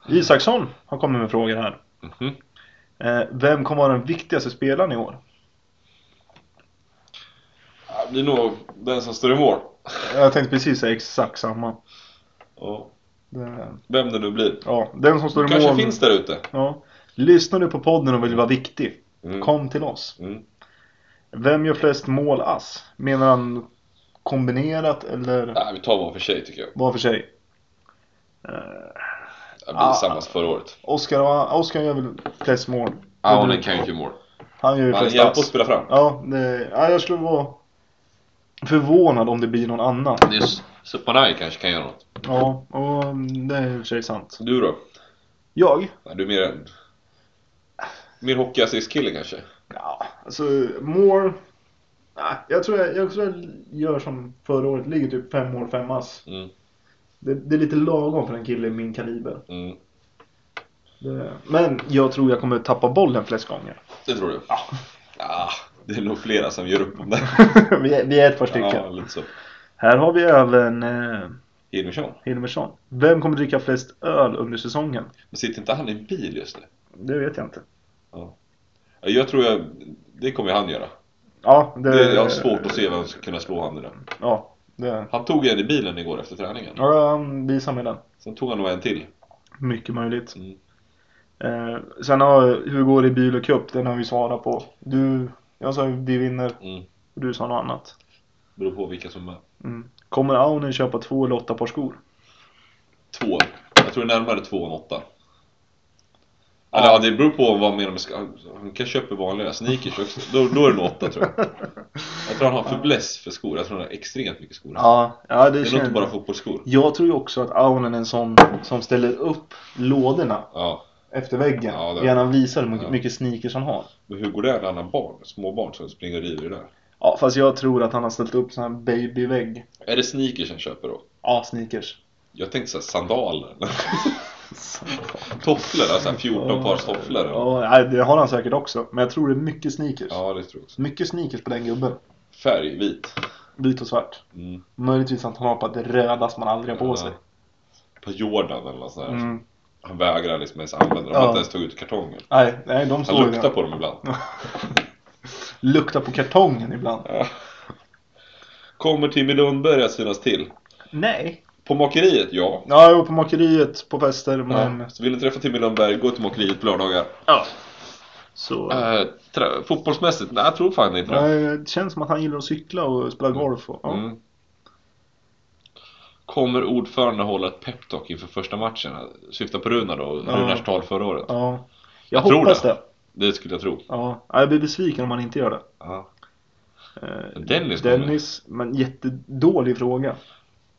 B: Isaksson har kommit med frågor här.
C: Mhm.
B: Eh, vem kommer vara den viktigaste spelaren i år?
C: Ja, Det blir nog den som står i mål.
B: Jag tänkte precis säga exakt samma.
C: Och
B: Det,
C: vem det nu blir.
B: ja, den som står i
C: kanske
B: mål.
C: finns där ute.
B: Ja. Lyssnar du på podden och vill vara viktig?
C: Mm.
B: Kom till oss.
C: Mm.
B: Vem gör flest mål ass? Menar han kombinerat eller
C: Nej, vi tar var för sig tycker jag.
B: var för sig? Eh,
C: Det blir
B: Ah.
C: samma som förra året.
B: Oskar, Oskar gör väl flest mål?
C: Ahonen kan ju inte göra mål.
B: Han gör ju
C: Han
B: flest
C: hjälper att
B: ass.
C: spela fram.
B: Ja, det, ja, jag skulle vara förvånad om det blir någon annan.
C: Det är s- Supanai kanske kan göra något.
B: Ja, och mm, det är i och för sig sant.
C: Du då?
B: Jag?
C: Nej, du är mer en... Mer hockeyassistkille kanske?
B: Ja, alltså mål... Nej, jag tror jag, jag tror jag gör som förra året, ligger typ fem mål, fem ass.
C: Mm,
B: Det, det är lite lagom för en kille i min kaliber.
C: mm.
B: Det, men jag tror jag kommer tappa bollen flest gånger.
C: Det tror du?
B: Ja.
C: Ah, det är nog flera som gör upp om det.
B: vi, är, vi är ett par stycken.
C: Ja, lite så.
B: Här har vi även eh,
C: Hilmersson?
B: Hilmersson. Vem kommer dricka flest öl under säsongen?
C: Men sitter inte han i en bil just nu?
B: Det vet jag inte.
C: Ja, Jag tror jag... Det kommer ju han göra.
B: Ja, det...
C: Det, jag har svårt att se vem som ska kunna slå han i den.
B: Ja, det...
C: Han tog en i bilen igår efter träningen.
B: Ja, um, han visar mig den.
C: Sen tog han nog en till.
B: Mycket möjligt.
C: Mm.
B: Eh, sen har hur går det i bil och cup? Den har vi svarat på. Du, jag sa ju vi vinner
C: Mm.
B: och du sa något annat.
C: Beror på vilka som är.
B: Mm. Kommer Aunen köpa två eller åtta par skor?
C: Två. Jag tror det är närmare två än åtta. Eller ja, det beror på vad han menar med ska... Han kan köpa vanliga sneakers också. Då, då är det nog åtta tror jag. Jag tror han har fäbless för skor. Jag tror han har extremt mycket skor.
B: Ja, ja det,
C: Det är nog
B: känns...
C: inte bara fotbollsskor.
B: Jag tror ju också att Aunen är en sån som ställer upp lådorna
C: Ja.
B: efter väggen.
C: Ja, det-
B: Gärna visar hur mycket,
C: Ja.
B: mycket sneakers han har.
C: Men hur går det när han har barn? Små barn som springer och river i det där.
B: Ja, fast jag tror att han har ställt upp sån här babyvägg.
C: Är det sneakers han köper då?
B: Ja, sneakers.
C: Jag tänkte såhär sandaler. tofflor, alltså 14 pars tofflor. Ja.
B: Ja, nej, det har han säkert också. Men jag tror det är mycket sneakers.
C: det tror jag också.
B: Mycket sneakers på den gubben.
C: Färg, vit.
B: Vit och svart.
C: Mm.
B: Möjligtvis att han har på det röda som han aldrig har på
C: Ja.
B: sig.
C: På Jordan eller något sånt här.
B: Mm.
C: Han vägrar liksom ens använda dem. Han har
B: Ja.
C: inte ens tagit ut kartongen.
B: Nej, nej, de
C: Han
B: står
C: luktar
B: luktar på.
C: på dem ibland.
B: luktar på kartongen ibland.
C: Ja. Kommer Timmy Lundberg att synas till?
B: Nej.
C: På makeriet, ja.
B: Ja, jag var på makeriet på fester, men...
C: ja. Så vill ni träffa Timmy Lundberg, gå till makeriet på lördagar.
B: Ja. Så...
C: Eh, trä- fotbollsmässigt? Nej, jag tror fan inte det.
B: Nej, det känns som att han gillar att cykla och spela golf och... Ja.
C: Mm. Kommer ordförande hålla ett peptalk inför första matchen? Syftar på Runar då,
B: Ja.
C: Runars tal förra året.
B: ja. Jag,
C: tror
B: hoppas
C: det.
B: det.
C: Det skulle jag tro.
B: Ja. Ja, Jag blir besviken om han inte gör det. Eh,
C: Dennis kommer.
B: Dennis, men jättedålig fråga.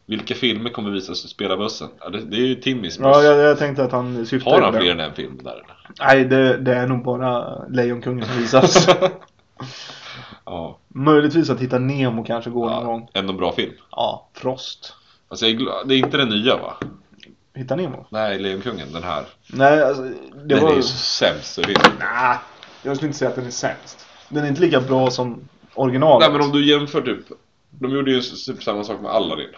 C: Vilka filmer kommer visas i spelarbussen? Ja, det, det är ju Timmys buss.
B: Ja, jag, jag tänkte att han syftade
C: Har
B: på
C: han
B: det.
C: fler än en film där eller?
B: Nej, det, det är nog bara Lejonkungen som visas.
C: Ja.
B: Möjligtvis att hitta Nemo kanske går någon
C: ja.
B: gång.
C: Ändå bra film.
B: Ja, Frost.
C: Alltså jag är glad. Det är inte den nya va?
B: Hitta Nemo?
C: Nej, Lejonkungen, den här.
B: Nej, alltså, det
C: den
B: var...
C: är ju sämst så finns det.
B: Nej, jag skulle inte säga att den är sämst. Den är inte lika bra som originalet.
C: Nej men om du jämför typ. De gjorde ju typ samma sak med Aladdin.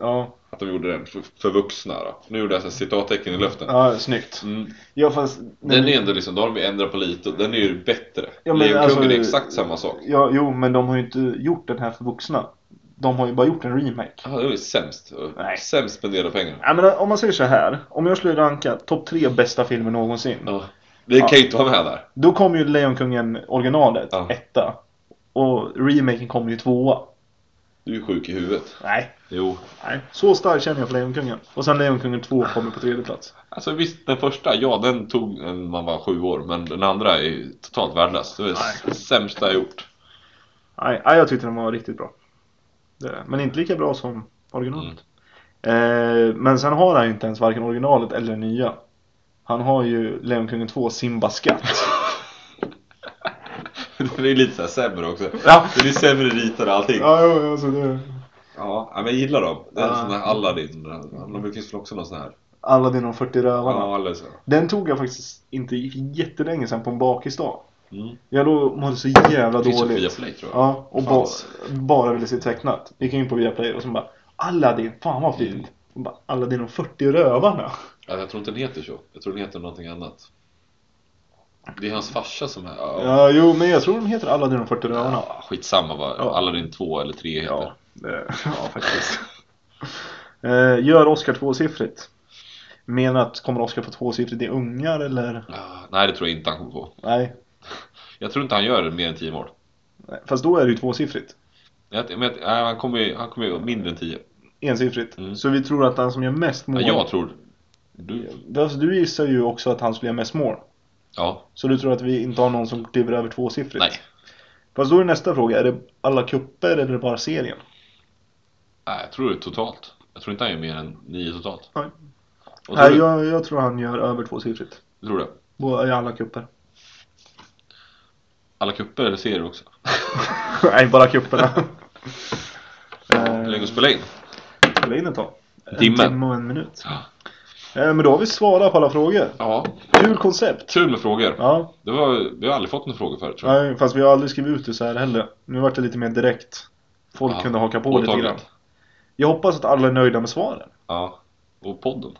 B: Ja,
C: Att de gjorde den för, för vuxna då. Nu gjorde jag så här citattecken i luften.
B: ja snyggt.
C: Mm.
B: Ja, fast...
C: Den är ändå liksom, då har de ju ändrat på lite och den är ju bättre.
B: Ja, men
C: Lejonkungen
B: alltså-
C: är exakt samma sak.
B: Ja, jo, men de har ju inte gjort den här för vuxna. De har ju bara gjort en remake.
C: Ja, det var ju sämst.
B: Nej.
C: Sämst spenderade pengar.
B: Ja, men om man säger så här. Om jag skulle ranka topp tre bästa filmer någonsin.
C: Ja. Det kan ju inte vara med där.
B: Då kommer ju Lejonkungen originalet,
C: Ja.
B: etta. Och remaken kommer ju tvåa.
C: Du är ju sjuk i huvudet.
B: Nej.
C: Jo.
B: Nej. Så starkt känner jag för Lejonkungen. Och sen Lejonkungen 2 kommer på tredje plats.
C: Alltså visst, den första, ja den tog en- man var sju år. Men den andra är ju totalt värdelös. Det är det
B: Nej.
C: sämsta jag gjort.
B: Nej, nej jag tyckte den var riktigt bra. Det- Men inte lika bra som originalet.
C: Mm.
B: Eh, men sen har han ju inte ens varken originalet eller det nya. Han har ju Lejonkungen 2 Simba skatt.
C: Den är lite så här sämre också.
B: Ja.
C: Den är sämre ritad och allting.
B: ja, jo, alltså det...
C: Ja, men jag gillar dem. Det är
B: Ja.
C: sån här Aladdin. Men Det finns väl också någon sån här?
B: Alla dina 40 rövarna.
C: Ja, eller så. Mm.
B: Den tog jag faktiskt inte jättelänge sen på en bakisdag.
C: Mm.
B: Jag då mådde så jävla
C: Det finns ju på
B: dåligt.
C: Viaplay tror jag.
B: Ja, och ba-
C: Fanns.
B: bara ville se tecknat. Gick in på Viaplay och så bara Aladdin, fan vad
C: Mm.
B: fint. Och bara, Aladdin och 40 rövarna.
C: Ja, jag tror inte den heter så. Jag tror den heter någonting annat. Det är hans farsa som är... Ja,
B: Ja, jo men jag tror de heter Aladdin och 40 rövarna.
C: Ja, skitsamma vad
B: Ja.
C: Aladdin 2 eller 3 heter.
B: Ja, det- ja faktiskt. Eh, Gör Oscar tvåsiffrigt. Menar att kommer Oscar få tvåsiffrigt i ungar eller?
C: Ah, Nej, det tror jag inte han kommer på.
B: Nej.
C: Jag tror inte han gör mer än 10 mål.
B: Nej, Fast då är det ju tvåsiffrigt.
C: Jag, men, jag- nej, han kommer ju han kommer ju mindre än 10.
B: Ensiffrigt.
C: Mm.
B: Så vi tror att han som gör mest
C: Ja,
B: mål.
C: jag tror... Du,
B: Alltså, du gissar ju också att han skulle göra mest mål.
C: ja,
B: Så du tror att vi inte har någon som kliver över tvåsiffrigt?
C: nej.
B: Fast då är nästa fråga, är det alla kupper eller är det bara serien?
C: nej. Jag tror det är totalt. Jag tror inte han gör mer än 9 totalt.
B: Nej.
C: Och tror
B: Nej,
C: du?
B: jag, jag tror han gör över tvåsiffrigt.
C: Tror du?
B: Bå- I alla kupper.
C: Alla kupper eller serier också?
B: Nej, bara kupperna.
C: Hur länge
B: eh,
C: spela in?
B: spela in ett tag. En
C: Timme.
B: timme och en minut.
C: Ja.
B: Eh, men då har vi svarat på alla frågor.
C: Ja,
B: Kul koncept.
C: kul med frågor.
B: Ja,
C: Det var, vi har aldrig fått några frågor förut tror jag.
B: nej, fast vi har aldrig skrivit ut det så här heller. Nu vart det lite mer direkt. Folk
C: Ja,
B: kunde haka på lite
C: Påtagligt.
B: grann. Jag hoppas att alla är nöjda med svaren.
C: Ja. Och podden.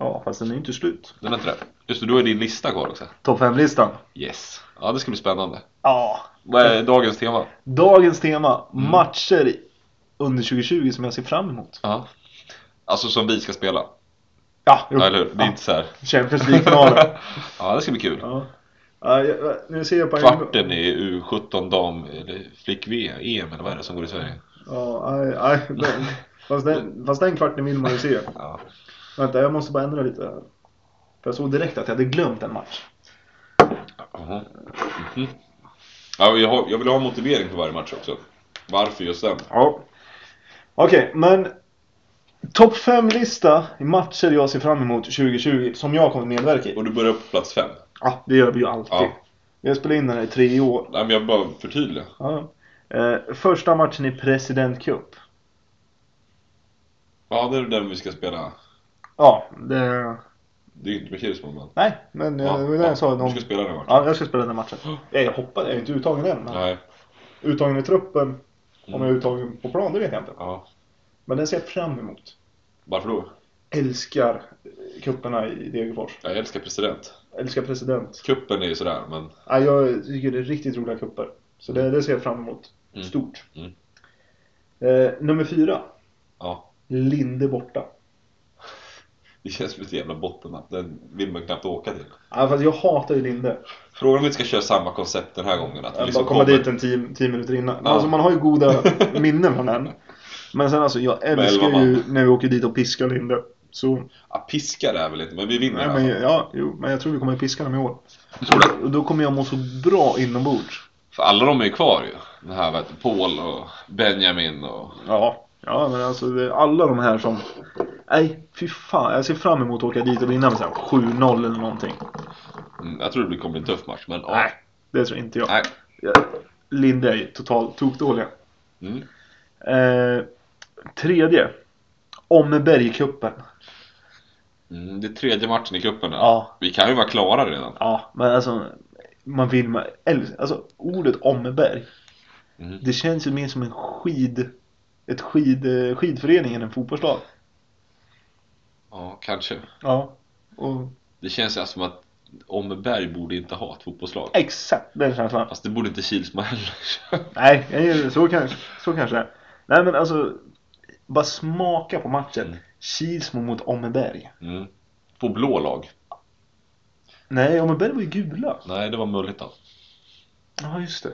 B: Ja, fast den är inte slut.
C: Den är inte det. Just det, du har din lista kvar också.
B: Topp 5-listan.
C: Yes. Ja, det ska bli spännande.
B: Ja,
C: Vad är dagens tema?
B: Dagens tema, matcher under 2020 som jag ser fram emot.
C: Ja. Alltså som vi ska spela.
B: Ja, jo.
C: Ja, eller hur? Det är
B: Ja,
C: inte så här.
B: Champions League-finalen.
C: ja, det ska bli kul.
B: ja. Ja, jag- jag- nu ser jag på en
C: Kvarten i U17 dam eller flick-VM eller vad är det som går i Sverige?
B: Ja, aj, aj, den. Fast, den, fast den kvarten vill man ju se.
C: Ja.
B: Vänta, jag måste bara ändra lite här. För jag såg direkt att jag hade glömt en match.
C: Jaha. Mhm. Ja, jag, har, jag vill ha en motivering för varje match också. Varför just den?
B: Ja. Okej, men topp 5-lista i matcher jag ser fram emot 2020 som jag kommer medverka i.
C: Och du börjar på plats fem.
B: Ja, det gör vi ju alltid.
C: Ja.
B: Jag spelar in den här i tre år.
C: Nej, men jag bara förtydliga.
B: Ja. Eh, första matchen i President Cup.
C: Ja, det är den vi ska spela.
B: Ja, det...
C: Det är ju inte Michaelis mål, men...
B: Nej, men eh, det var det jag sa.
C: Du
B: Någon...
C: ska spela den matchen.
B: Ja, jag ska spela den matchen. Jag hoppar, jag är inte uttagen än. Men...
C: Nej.
B: Uttagen i truppen, om
C: Mm.
B: jag är uttagen på plan, det vet jag inte.
C: Ja.
B: Men den ser jag fram emot.
C: Varför då?
B: Älskar eh, cuperna i Degerfors.
C: Jag älskar president.
B: Älskar president.
C: Kuppen är ju sådär, men...
B: Ja, jag tycker det är riktigt roliga cuper. Så det, det ser jag fram emot.
C: Mm.
B: Stort.
C: Mm.
B: Eh, nummer fyra.
C: Ja.
B: Linde borta.
C: Det känns som ett jävla bottennapp. Den vill man knappt åka till.
B: Ja, fast jag hatar ju Linde.
C: Frågan om vi ska köra samma koncept den här gången. Att vi
B: Bara
C: liksom
B: komma
C: kommer
B: dit en tio, tio minuter innan.
C: Ja.
B: Alltså man har ju goda minnen från den. Men sen alltså jag älskar
C: elva
B: ju när vi åker dit och piskar Linde. Så,
C: Ja, piska det är väl inte, men vi vinner
B: nej,
C: i alla
B: men,
C: fall.
B: ja, jo, men jag tror vi kommer att piska dem i år.
C: Jag tror det.
B: Och då kommer jag må så bra inombords.
C: För alla de är ju kvar ju. Den här vet du, Paul och Benjamin och...
B: Ja. Ja men alltså det är alla de här som... Nej fy fan, jag ser fram emot att åka dit och vinna med så här 7-0 eller någonting.
C: Mm, jag tror det blir- kommer bli en tuff match, men... ja.
B: Nej, det tror inte jag.
C: Nej.
B: Jag- Linde är ju totalt tokdåliga.
C: Mm.
B: Eh, tredje. Ommebergcupen.
C: Mm, det är tredje matchen i cupen nu.
B: Ja.
C: Vi kan ju vara klara redan.
B: Ja, men alltså. Man vill man älskar, alltså ordet Ommeberg.
C: Mm.
B: Det känns ju mer som en skid, ett skid, eh, skidförening än en fotbollslag.
C: Ja, kanske.
B: Ja. Och,
C: Det känns alltså som att Åmmeberg borde inte ha ett fotbollslag.
B: exakt den känslan.
C: Fast det borde inte Kilsmo heller.
B: Nej, jag är- så kanske, så kanske det är. Nej men alltså, bara smaka på matchen.
C: Mm.
B: Kilsmo mot Åmmeberg.
C: Mm. På blå lag.
B: Nej, Åmmeberg var ju gula.
C: Nej, det var Mölhyttan.
B: Ja, just det.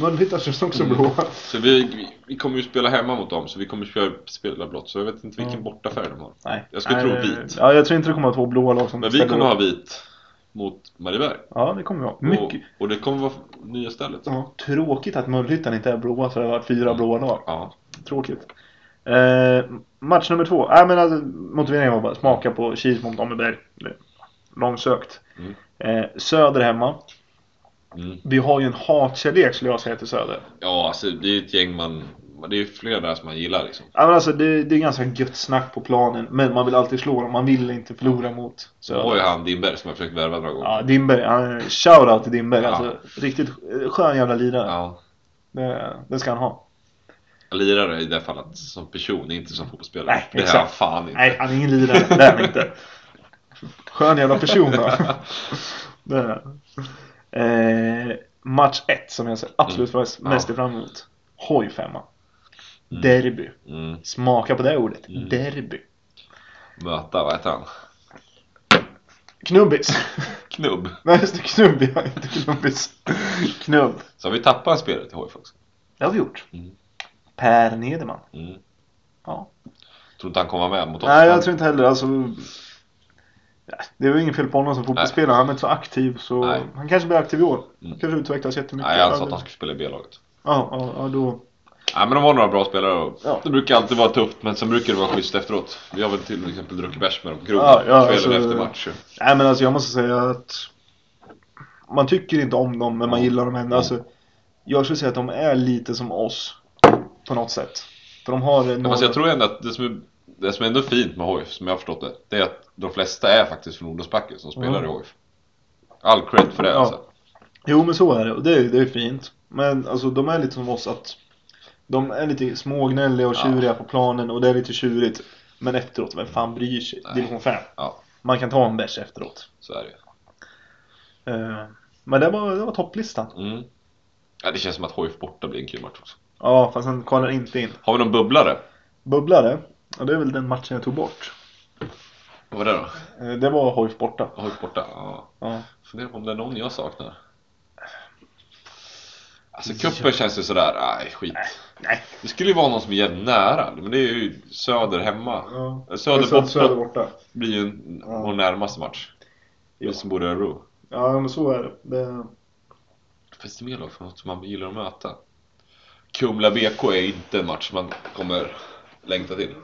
B: Mölnlyttan känns också
C: Mm.
B: blåa.
C: Så vi, vi- vi kommer ju spela hemma mot dem, så vi kommer spela, spela blått. Så jag vet inte vilken
B: Ja.
C: bortafärg de har.
B: Nej.
C: Jag skulle
B: Nej,
C: tro
B: det-
C: vit.
B: Ja, jag tror inte det kommer att vara två blåa lag som
C: Men vi
B: ställer
C: kommer
B: upp.
C: ha vit mot Marieberg.
B: Ja, det kommer vi ha.
C: Och,
B: Mycket.
C: och det kommer vara nya stället.
B: Ja, tråkigt att Mölnlyttan inte är blåa så det har varit fyra
C: Mm.
B: blåa lag.
C: Ja.
B: Tråkigt. Eh, match nummer två. Nej, men alltså, motiveringen var bara smaka på Kilsmo mot Åmmeberg. Långsökt.
C: Mm.
B: Eh, söder hemma.
C: Mm.
B: Vi har ju en hatkärlek skulle jag säga till Söder.
C: ja, alltså det är ett gäng man... Det är ju flera där som man gillar liksom.
B: Ja, men alltså, det, det är ganska gött snack på planen, men man vill alltid slå dem. Man vill inte förlora mot
C: Så har ju han Dimberg som jag försökt värva några gånger.
B: Ja, Dimberg. han- Shoutout till Dimberg.
C: Ja.
B: Alltså, riktigt eh, skön jävla lirare.
C: Ja.
B: Det, det ska han ha.
C: Lirare i det fallet som person, inte som fotbollsspelare.
B: Nej,
C: det här
B: exakt.
C: fan inte.
B: Nej, han är ingen lirare. Det är han inte. Skön jävla person då. Det är han. eh, match 1 som jag ser absolut mest
C: Mm. Ja.
B: mest fram emot. Hoj femma.
C: Mm.
B: Derby.
C: Mm.
B: Smaka på det ordet.
C: Mm.
B: Derby.
C: Möta, vad heter han?
B: Knubbis.
C: Knubb.
B: Nej, just det. Knubb. Ja, inte knubbis. Knubb.
C: Så har vi tappat en spelare till HIF också.
B: Det har vi gjort.
C: Mm.
B: Per Nederman.
C: Mm.
B: Ja.
C: Tror inte han kommer vara med mot oss.
B: Nej, jag tror inte heller alltså. nej, Det är väl inget fel på honom som fotbollsspelare. Han är inte så aktiv så
C: Nej.
B: han kanske blir aktiv i år.
C: Mm.
B: Kanske utvecklas jättemycket.
C: Nej, han sa
B: Ja,
C: att han skulle spela i B-laget.
B: ja, ja, ja, då.
C: Nej, men de har några bra spelare och
B: Ja.
C: det brukar alltid vara tufft, men sen brukar det vara schysst efteråt. Vi har väl till exempel druckit bärs med dem på krogen
B: Ja, ja,
C: kvällen
B: alltså-
C: efter match.
B: Nej, men alltså jag måste säga att man tycker inte om dem, men man gillar dem ändå. Alltså, jag skulle säga att de är lite som oss på något sätt. För de har några...
C: Fast alltså, jag tror ändå att det som, är, det som ändå är fint med HIF, som jag har förstått det, det är att de flesta är faktiskt från Odensbacken som spelar
B: Mm.
C: i HIF. All cred för det
B: Ja.
C: alltså.
B: Jo, men så är det och det är, det är fint. Men alltså de är lite som oss att de är lite smågnälliga och
C: Ja.
B: tjuriga på planen och det är lite tjurigt. Men efteråt, vem fan bryr sig?
C: Nej.
B: Division 5.
C: Ja,
B: Man kan ta en bärs efteråt.
C: så är det ju.
B: Eh, Men det var, det var topplistan.
C: Mm. Ja, det känns som att HIF borta blir en kul match också.
B: Ja, fast han kollar inte in.
C: Har vi någon bubblare?
B: Bubblare, ja, det är väl den matchen jag tog bort.
C: Vad var det då?
B: Eh, Det var HIF borta.
C: HIF borta? Ja.
B: Ja.
C: Funderar på om det är någon jag saknar. Alltså cupen känns ju sådär, nej skit.
B: Nej.
C: Det skulle ju vara någon som är jävligt nära, men det är ju Söder hemma.
B: Ja.
C: Söder
B: Söder, Söder
C: borta
B: borta.
C: blir ju en,
B: Ja.
C: vår närmaste match. Vi
B: Ja.
C: som bor i Örebro.
B: Ja, men så är det. det...
C: Finns det mer lag från något som man gillar att möta? Kumla BK är inte en match man kommer längta till.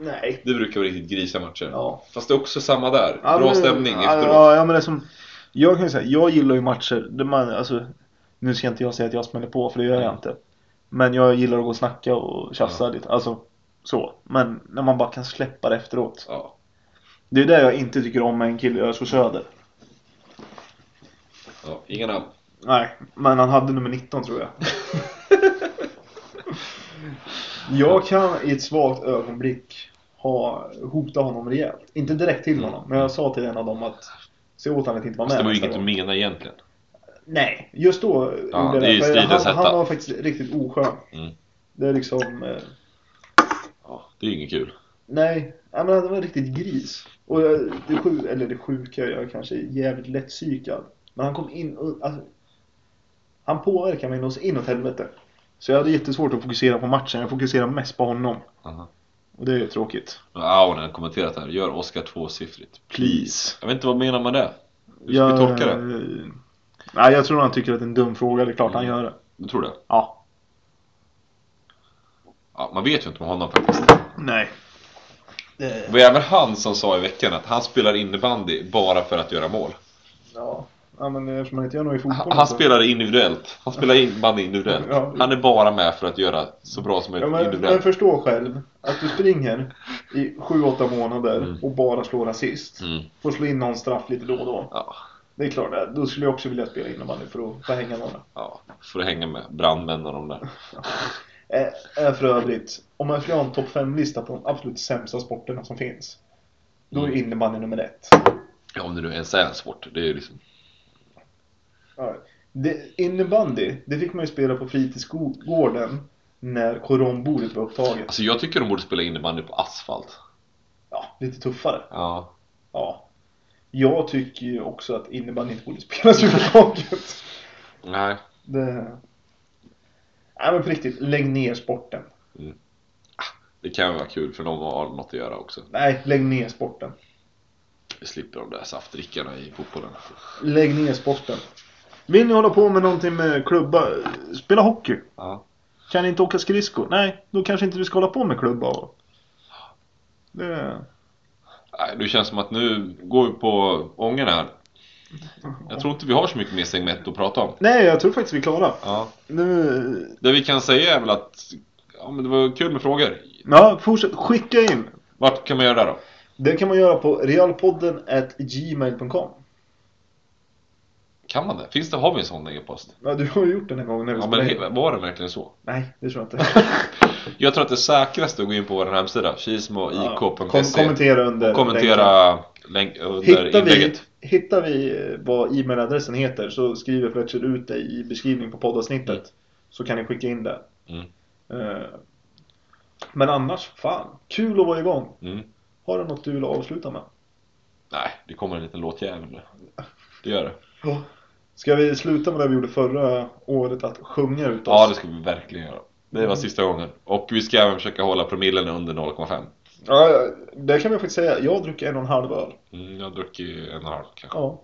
B: Nej.
C: Det brukar vara riktigt grisiga matcher.
B: Ja.
C: Fast det är också samma där.
B: Ja,
C: Bra
B: men-
C: stämning
B: ja,
C: efteråt.
B: Ja, ja, men det är som, jag kan ju säga, jag gillar ju matcher där man, alltså, nu ska inte jag säga att jag smäller på för det gör jag inte. Men jag gillar att gå och snacka och tjafsa
C: Ja.
B: lite, alltså så. Men när man bara kan släppa det efteråt.
C: Ja.
B: Det är det jag inte tycker om med en kille i Örebro Söder.
C: Ja. Inga namn.
B: Nej, men han hade nummer 19 tror jag. jag kan i ett svagt ögonblick ha, hota honom rejält. Inte direkt till honom, men jag sa till en av dem att se åt honom att inte vara med.
C: Mm. Fast det var ju
B: nästa
C: inget du
B: gång.
C: menade egentligen.
B: Nej, just då
C: Ja,
B: gjorde jag
C: det är ju
B: för
C: stridens
B: han,
C: hetta.
B: han var faktiskt riktigt oskön.
C: Mm.
B: Det är liksom... Eh,
C: Ja, det är ju inget kul.
B: nej, ja, men han var riktigt gris. Och jag, det, sju, eller det sjuka, jag kanske är jävligt lättpsykad. Men han kom in och... Alltså, han påverkade mig något så inåt helvete. Så jag hade jättesvårt att fokusera på matchen. Jag fokuserade mest på honom.
C: Aha.
B: Och det är ju tråkigt.
C: Men Aunen har kommenterat här. Gör Oscar tvåsiffrigt.
B: Please.
C: Jag vet inte vad menar man det? Hur ska vi tolka det?
B: eh, Nej, jag tror han tycker att det är en dum fråga. Det är klart
C: Mm.
B: han gör det.
C: Du tror det?
B: Ja.
C: Ja, man vet ju inte med honom faktiskt.
B: Nej.
C: Det var även han som sa i veckan att han spelar innebandy bara för att göra mål.
B: Ja. Ja, men eftersom han inte gör något i
C: Han,
B: fotbollen
C: han
B: så-
C: spelar individuellt. Han spelar in, band individuellt.
B: Ja.
C: Han är bara med för att göra så bra som
B: Ja,
C: möjligt
B: men, men
C: individuellt.
B: förstå själv att du springer i 7-8 månader
C: Mm.
B: och bara slår assist.
C: Mm.
B: Får slå in någon straff lite då och då.
C: Ja,
B: Det är klart, det. då skulle jag också vilja spela innebandy för att få hänga några.
C: ja. Får hänga med brandmän och de där.
B: Är, är Eh, för övrigt, om jag skulle ha en topp 5-lista på de absolut sämsta sporterna som finns. Då är
C: Mm.
B: innebandy nummer ett.
C: Ja, om det nu ens är en sport. Det är ju liksom...
B: Ja. Det, innebandy, det fick man ju spela på fritidsgården när koronbordet var upptaget.
C: Alltså jag tycker de borde spela innebandy på asfalt.
B: Ja, lite tuffare.
C: Ja.
B: Ja. Jag tycker ju också att innebandy inte borde spelas överhuvudtaget.
C: Nej.
B: Det... Nej men på riktigt, lägg ner sporten.
C: Det kan ju vara kul för de har något att göra också.
B: Nej, lägg ner sporten.
C: Vi slipper de där saftdrickarna i fotbollen.
B: Lägg ner sporten. Vill ni hålla på med någonting med klubba? Spela hockey.
C: Ja.
B: Kan ni inte åka skridskor? Nej, då kanske inte du ska hålla på med klubba. och- Det...
C: Nej, det känns som att nu går vi på ången här. Jag tror inte vi har så mycket mer segment att prata om.
B: Nej, jag tror faktiskt vi är klara.
C: Ja.
B: Nu...
C: Det vi kan säga är väl att ja, men det var kul med frågor.
B: Ja, fortsätt. Skicka in.
C: Vart kan man göra det då?
B: Det kan man göra på realpodden at gmail.com.
C: Kan man det? Finns det, har vi en sån e-post?
B: Ja, du har ju gjort den en gång när vi
C: Ja,
B: spelade
C: men
B: in.
C: he- var det verkligen så?
B: Nej, det tror jag inte.
C: Jag tror att det säkraste är att gå in på vår hemsida,
B: Ja, kom-
C: kismoik.se
B: kommentera under.
C: Kommentera länk under
B: Hittar vi,
C: inlägget.
B: hittar vi eh, vad e-mailadressen heter så skriver Fletcher ut det i beskrivningen på poddavsnittet.
C: Mm.
B: Så kan ni skicka in det.
C: Mm.
B: Eh, Men annars, fan. Kul att vara igång.
C: Mm.
B: Har du något du vill avsluta med?
C: Nej, det kommer en liten låtjävel nu. Det gör det.
B: Ska vi sluta med det vi gjorde förra året, att sjunga ut oss?
C: Ja, det ska vi verkligen göra. Det var sista gången. Och vi ska även försöka hålla promillen under 0,5.
B: Ja, det kan vi faktiskt säga. Jag dricker en och en halv öl.
C: Mm, jag har druckit en och en halv kanske.
B: Ja.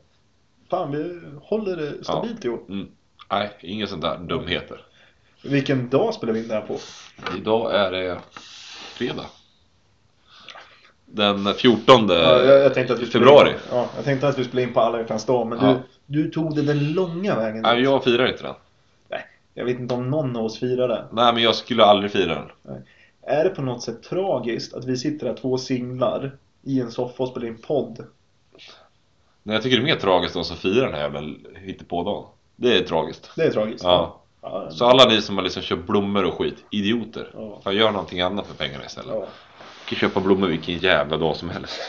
B: Fan, vi håller det stabilt i år.
C: Mm. Nej, inga sånt där dumheter.
B: Vilken dag spelar vi in det här på?
C: Idag är det fredag. Den 14
B: Ja, jag, jag tänkte att vi skulle-
C: Eh, februari.
B: Ja, jag tänkte att vi skulle in på alla hjärtans dag, men
C: Ja.
B: du, du tog det den långa vägen.
C: Nej, jag firar inte den.
B: Jag vet inte om någon av oss firar det.
C: Nej, men jag skulle aldrig fira den.
B: Är det på något sätt tragiskt att vi sitter här två singlar i en soffa och spelar in podd?
C: Nej, jag tycker det är mer tragiskt de som firar den här jävla hittepådagen. Det är tragiskt.
B: Det är tragiskt.
C: Ja.
B: Ja,
C: Så alla ni som har liksom köpt blommor och skit, idioter.
B: Ja.
C: Fan, gör någonting annat för pengarna istället.
B: ja.
C: kan köpa blommor vilken jävla dag som helst.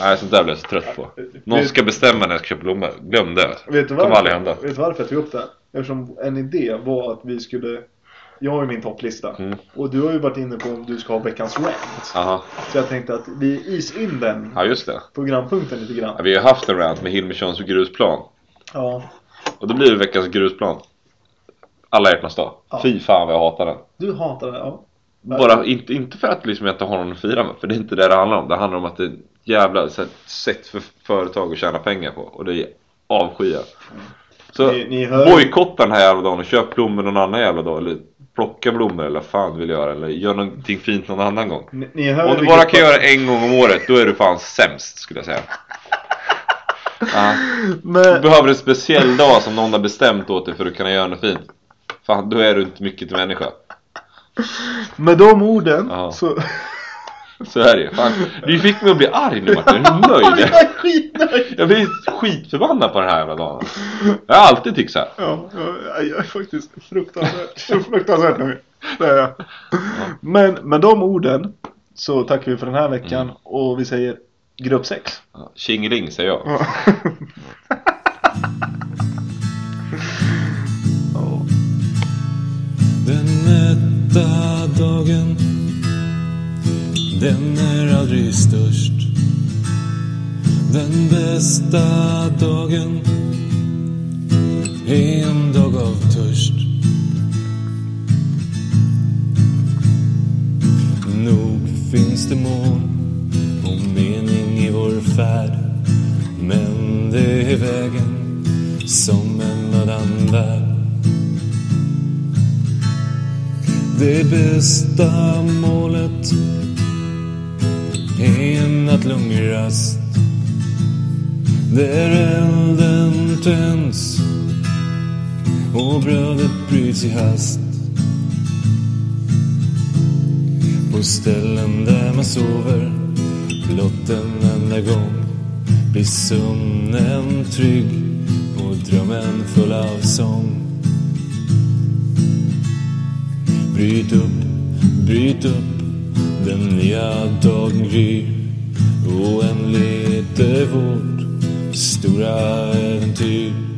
C: Nej, sånt där blir jag så trött på. Någon ska bestämma när jag ska köpa blommor. Glöm det.
B: Vet du
C: kommer aldrig
B: varför,
C: hända.
B: vet du varför jag tog upp det? här? Eftersom en idé var att vi skulle... Jag har ju min topplista.
C: Mm.
B: Och du har ju varit inne på om du ska ha veckans rant.
C: Aha.
B: Så jag tänkte att vi is in den
C: Ja, just det.
B: programpunkten lite
C: Ja,
B: grann.
C: Vi har ju haft en rant med Hilmerssons grusplan.
B: Ja.
C: Och då blir det veckans grusplan. Alla hjärtans dag.
B: Ja.
C: Fy fan vad jag hatar den.
B: Du hatar det, ja.
C: Bara, inte, inte för att liksom jag inte har någon att fira med, för det är inte det det handlar om. Det handlar om att det är ett jävla så här, sätt för företag att tjäna pengar på. Och det avskyr jag. Så
B: Ni, ni hör...
C: bojkotta den här jävla dagen och köp blommor någon annan jävla dag. Eller plocka blommor eller fan du vill göra. Eller gör någonting fint någon annan gång.
B: Ni, ni hör
C: Om du
B: vilket-
C: bara kan göra en gång om året, då är du fan sämst skulle jag säga. Ja. Du
B: Men,
C: behöver en speciell dag som någon har bestämt åt dig för att kunna göra något fint. Fan, då är du inte mycket till människa.
B: med de orden
C: Ja.
B: så...
C: Så är det ju. Fan. Du fick mig att bli arg nu Martin, jag är
B: Aj,
C: nöjd.
B: jag är skitnöjd!
C: Jag blir skitförbannad på den här jävla dagen. Jag har alltid tyckt så här.
B: Ja, jag, jag är faktiskt fruktansvärt, fruktansvärt nöjd. Det är jag. Men med de orden så tackar vi för den här veckan
C: Mm.
B: och vi säger grupp 6.
C: Ja, Tjingeling säger jag.
A: Den mätta dagen Den är aldrig störst Den bästa dagen Är en dag av törst Nog finns det mål och mening i vår färd Men det är vägen som en mödan värd Det bästa målet är en nattlång rast Där elden tänds och brödet bryts i hast. På ställen där man sover blott en enda gång blir sömnen trygg och drömmen full av sång. Bryt upp, bryt upp, den nya dagen gryr. Oändligt är vårt stora äventyr.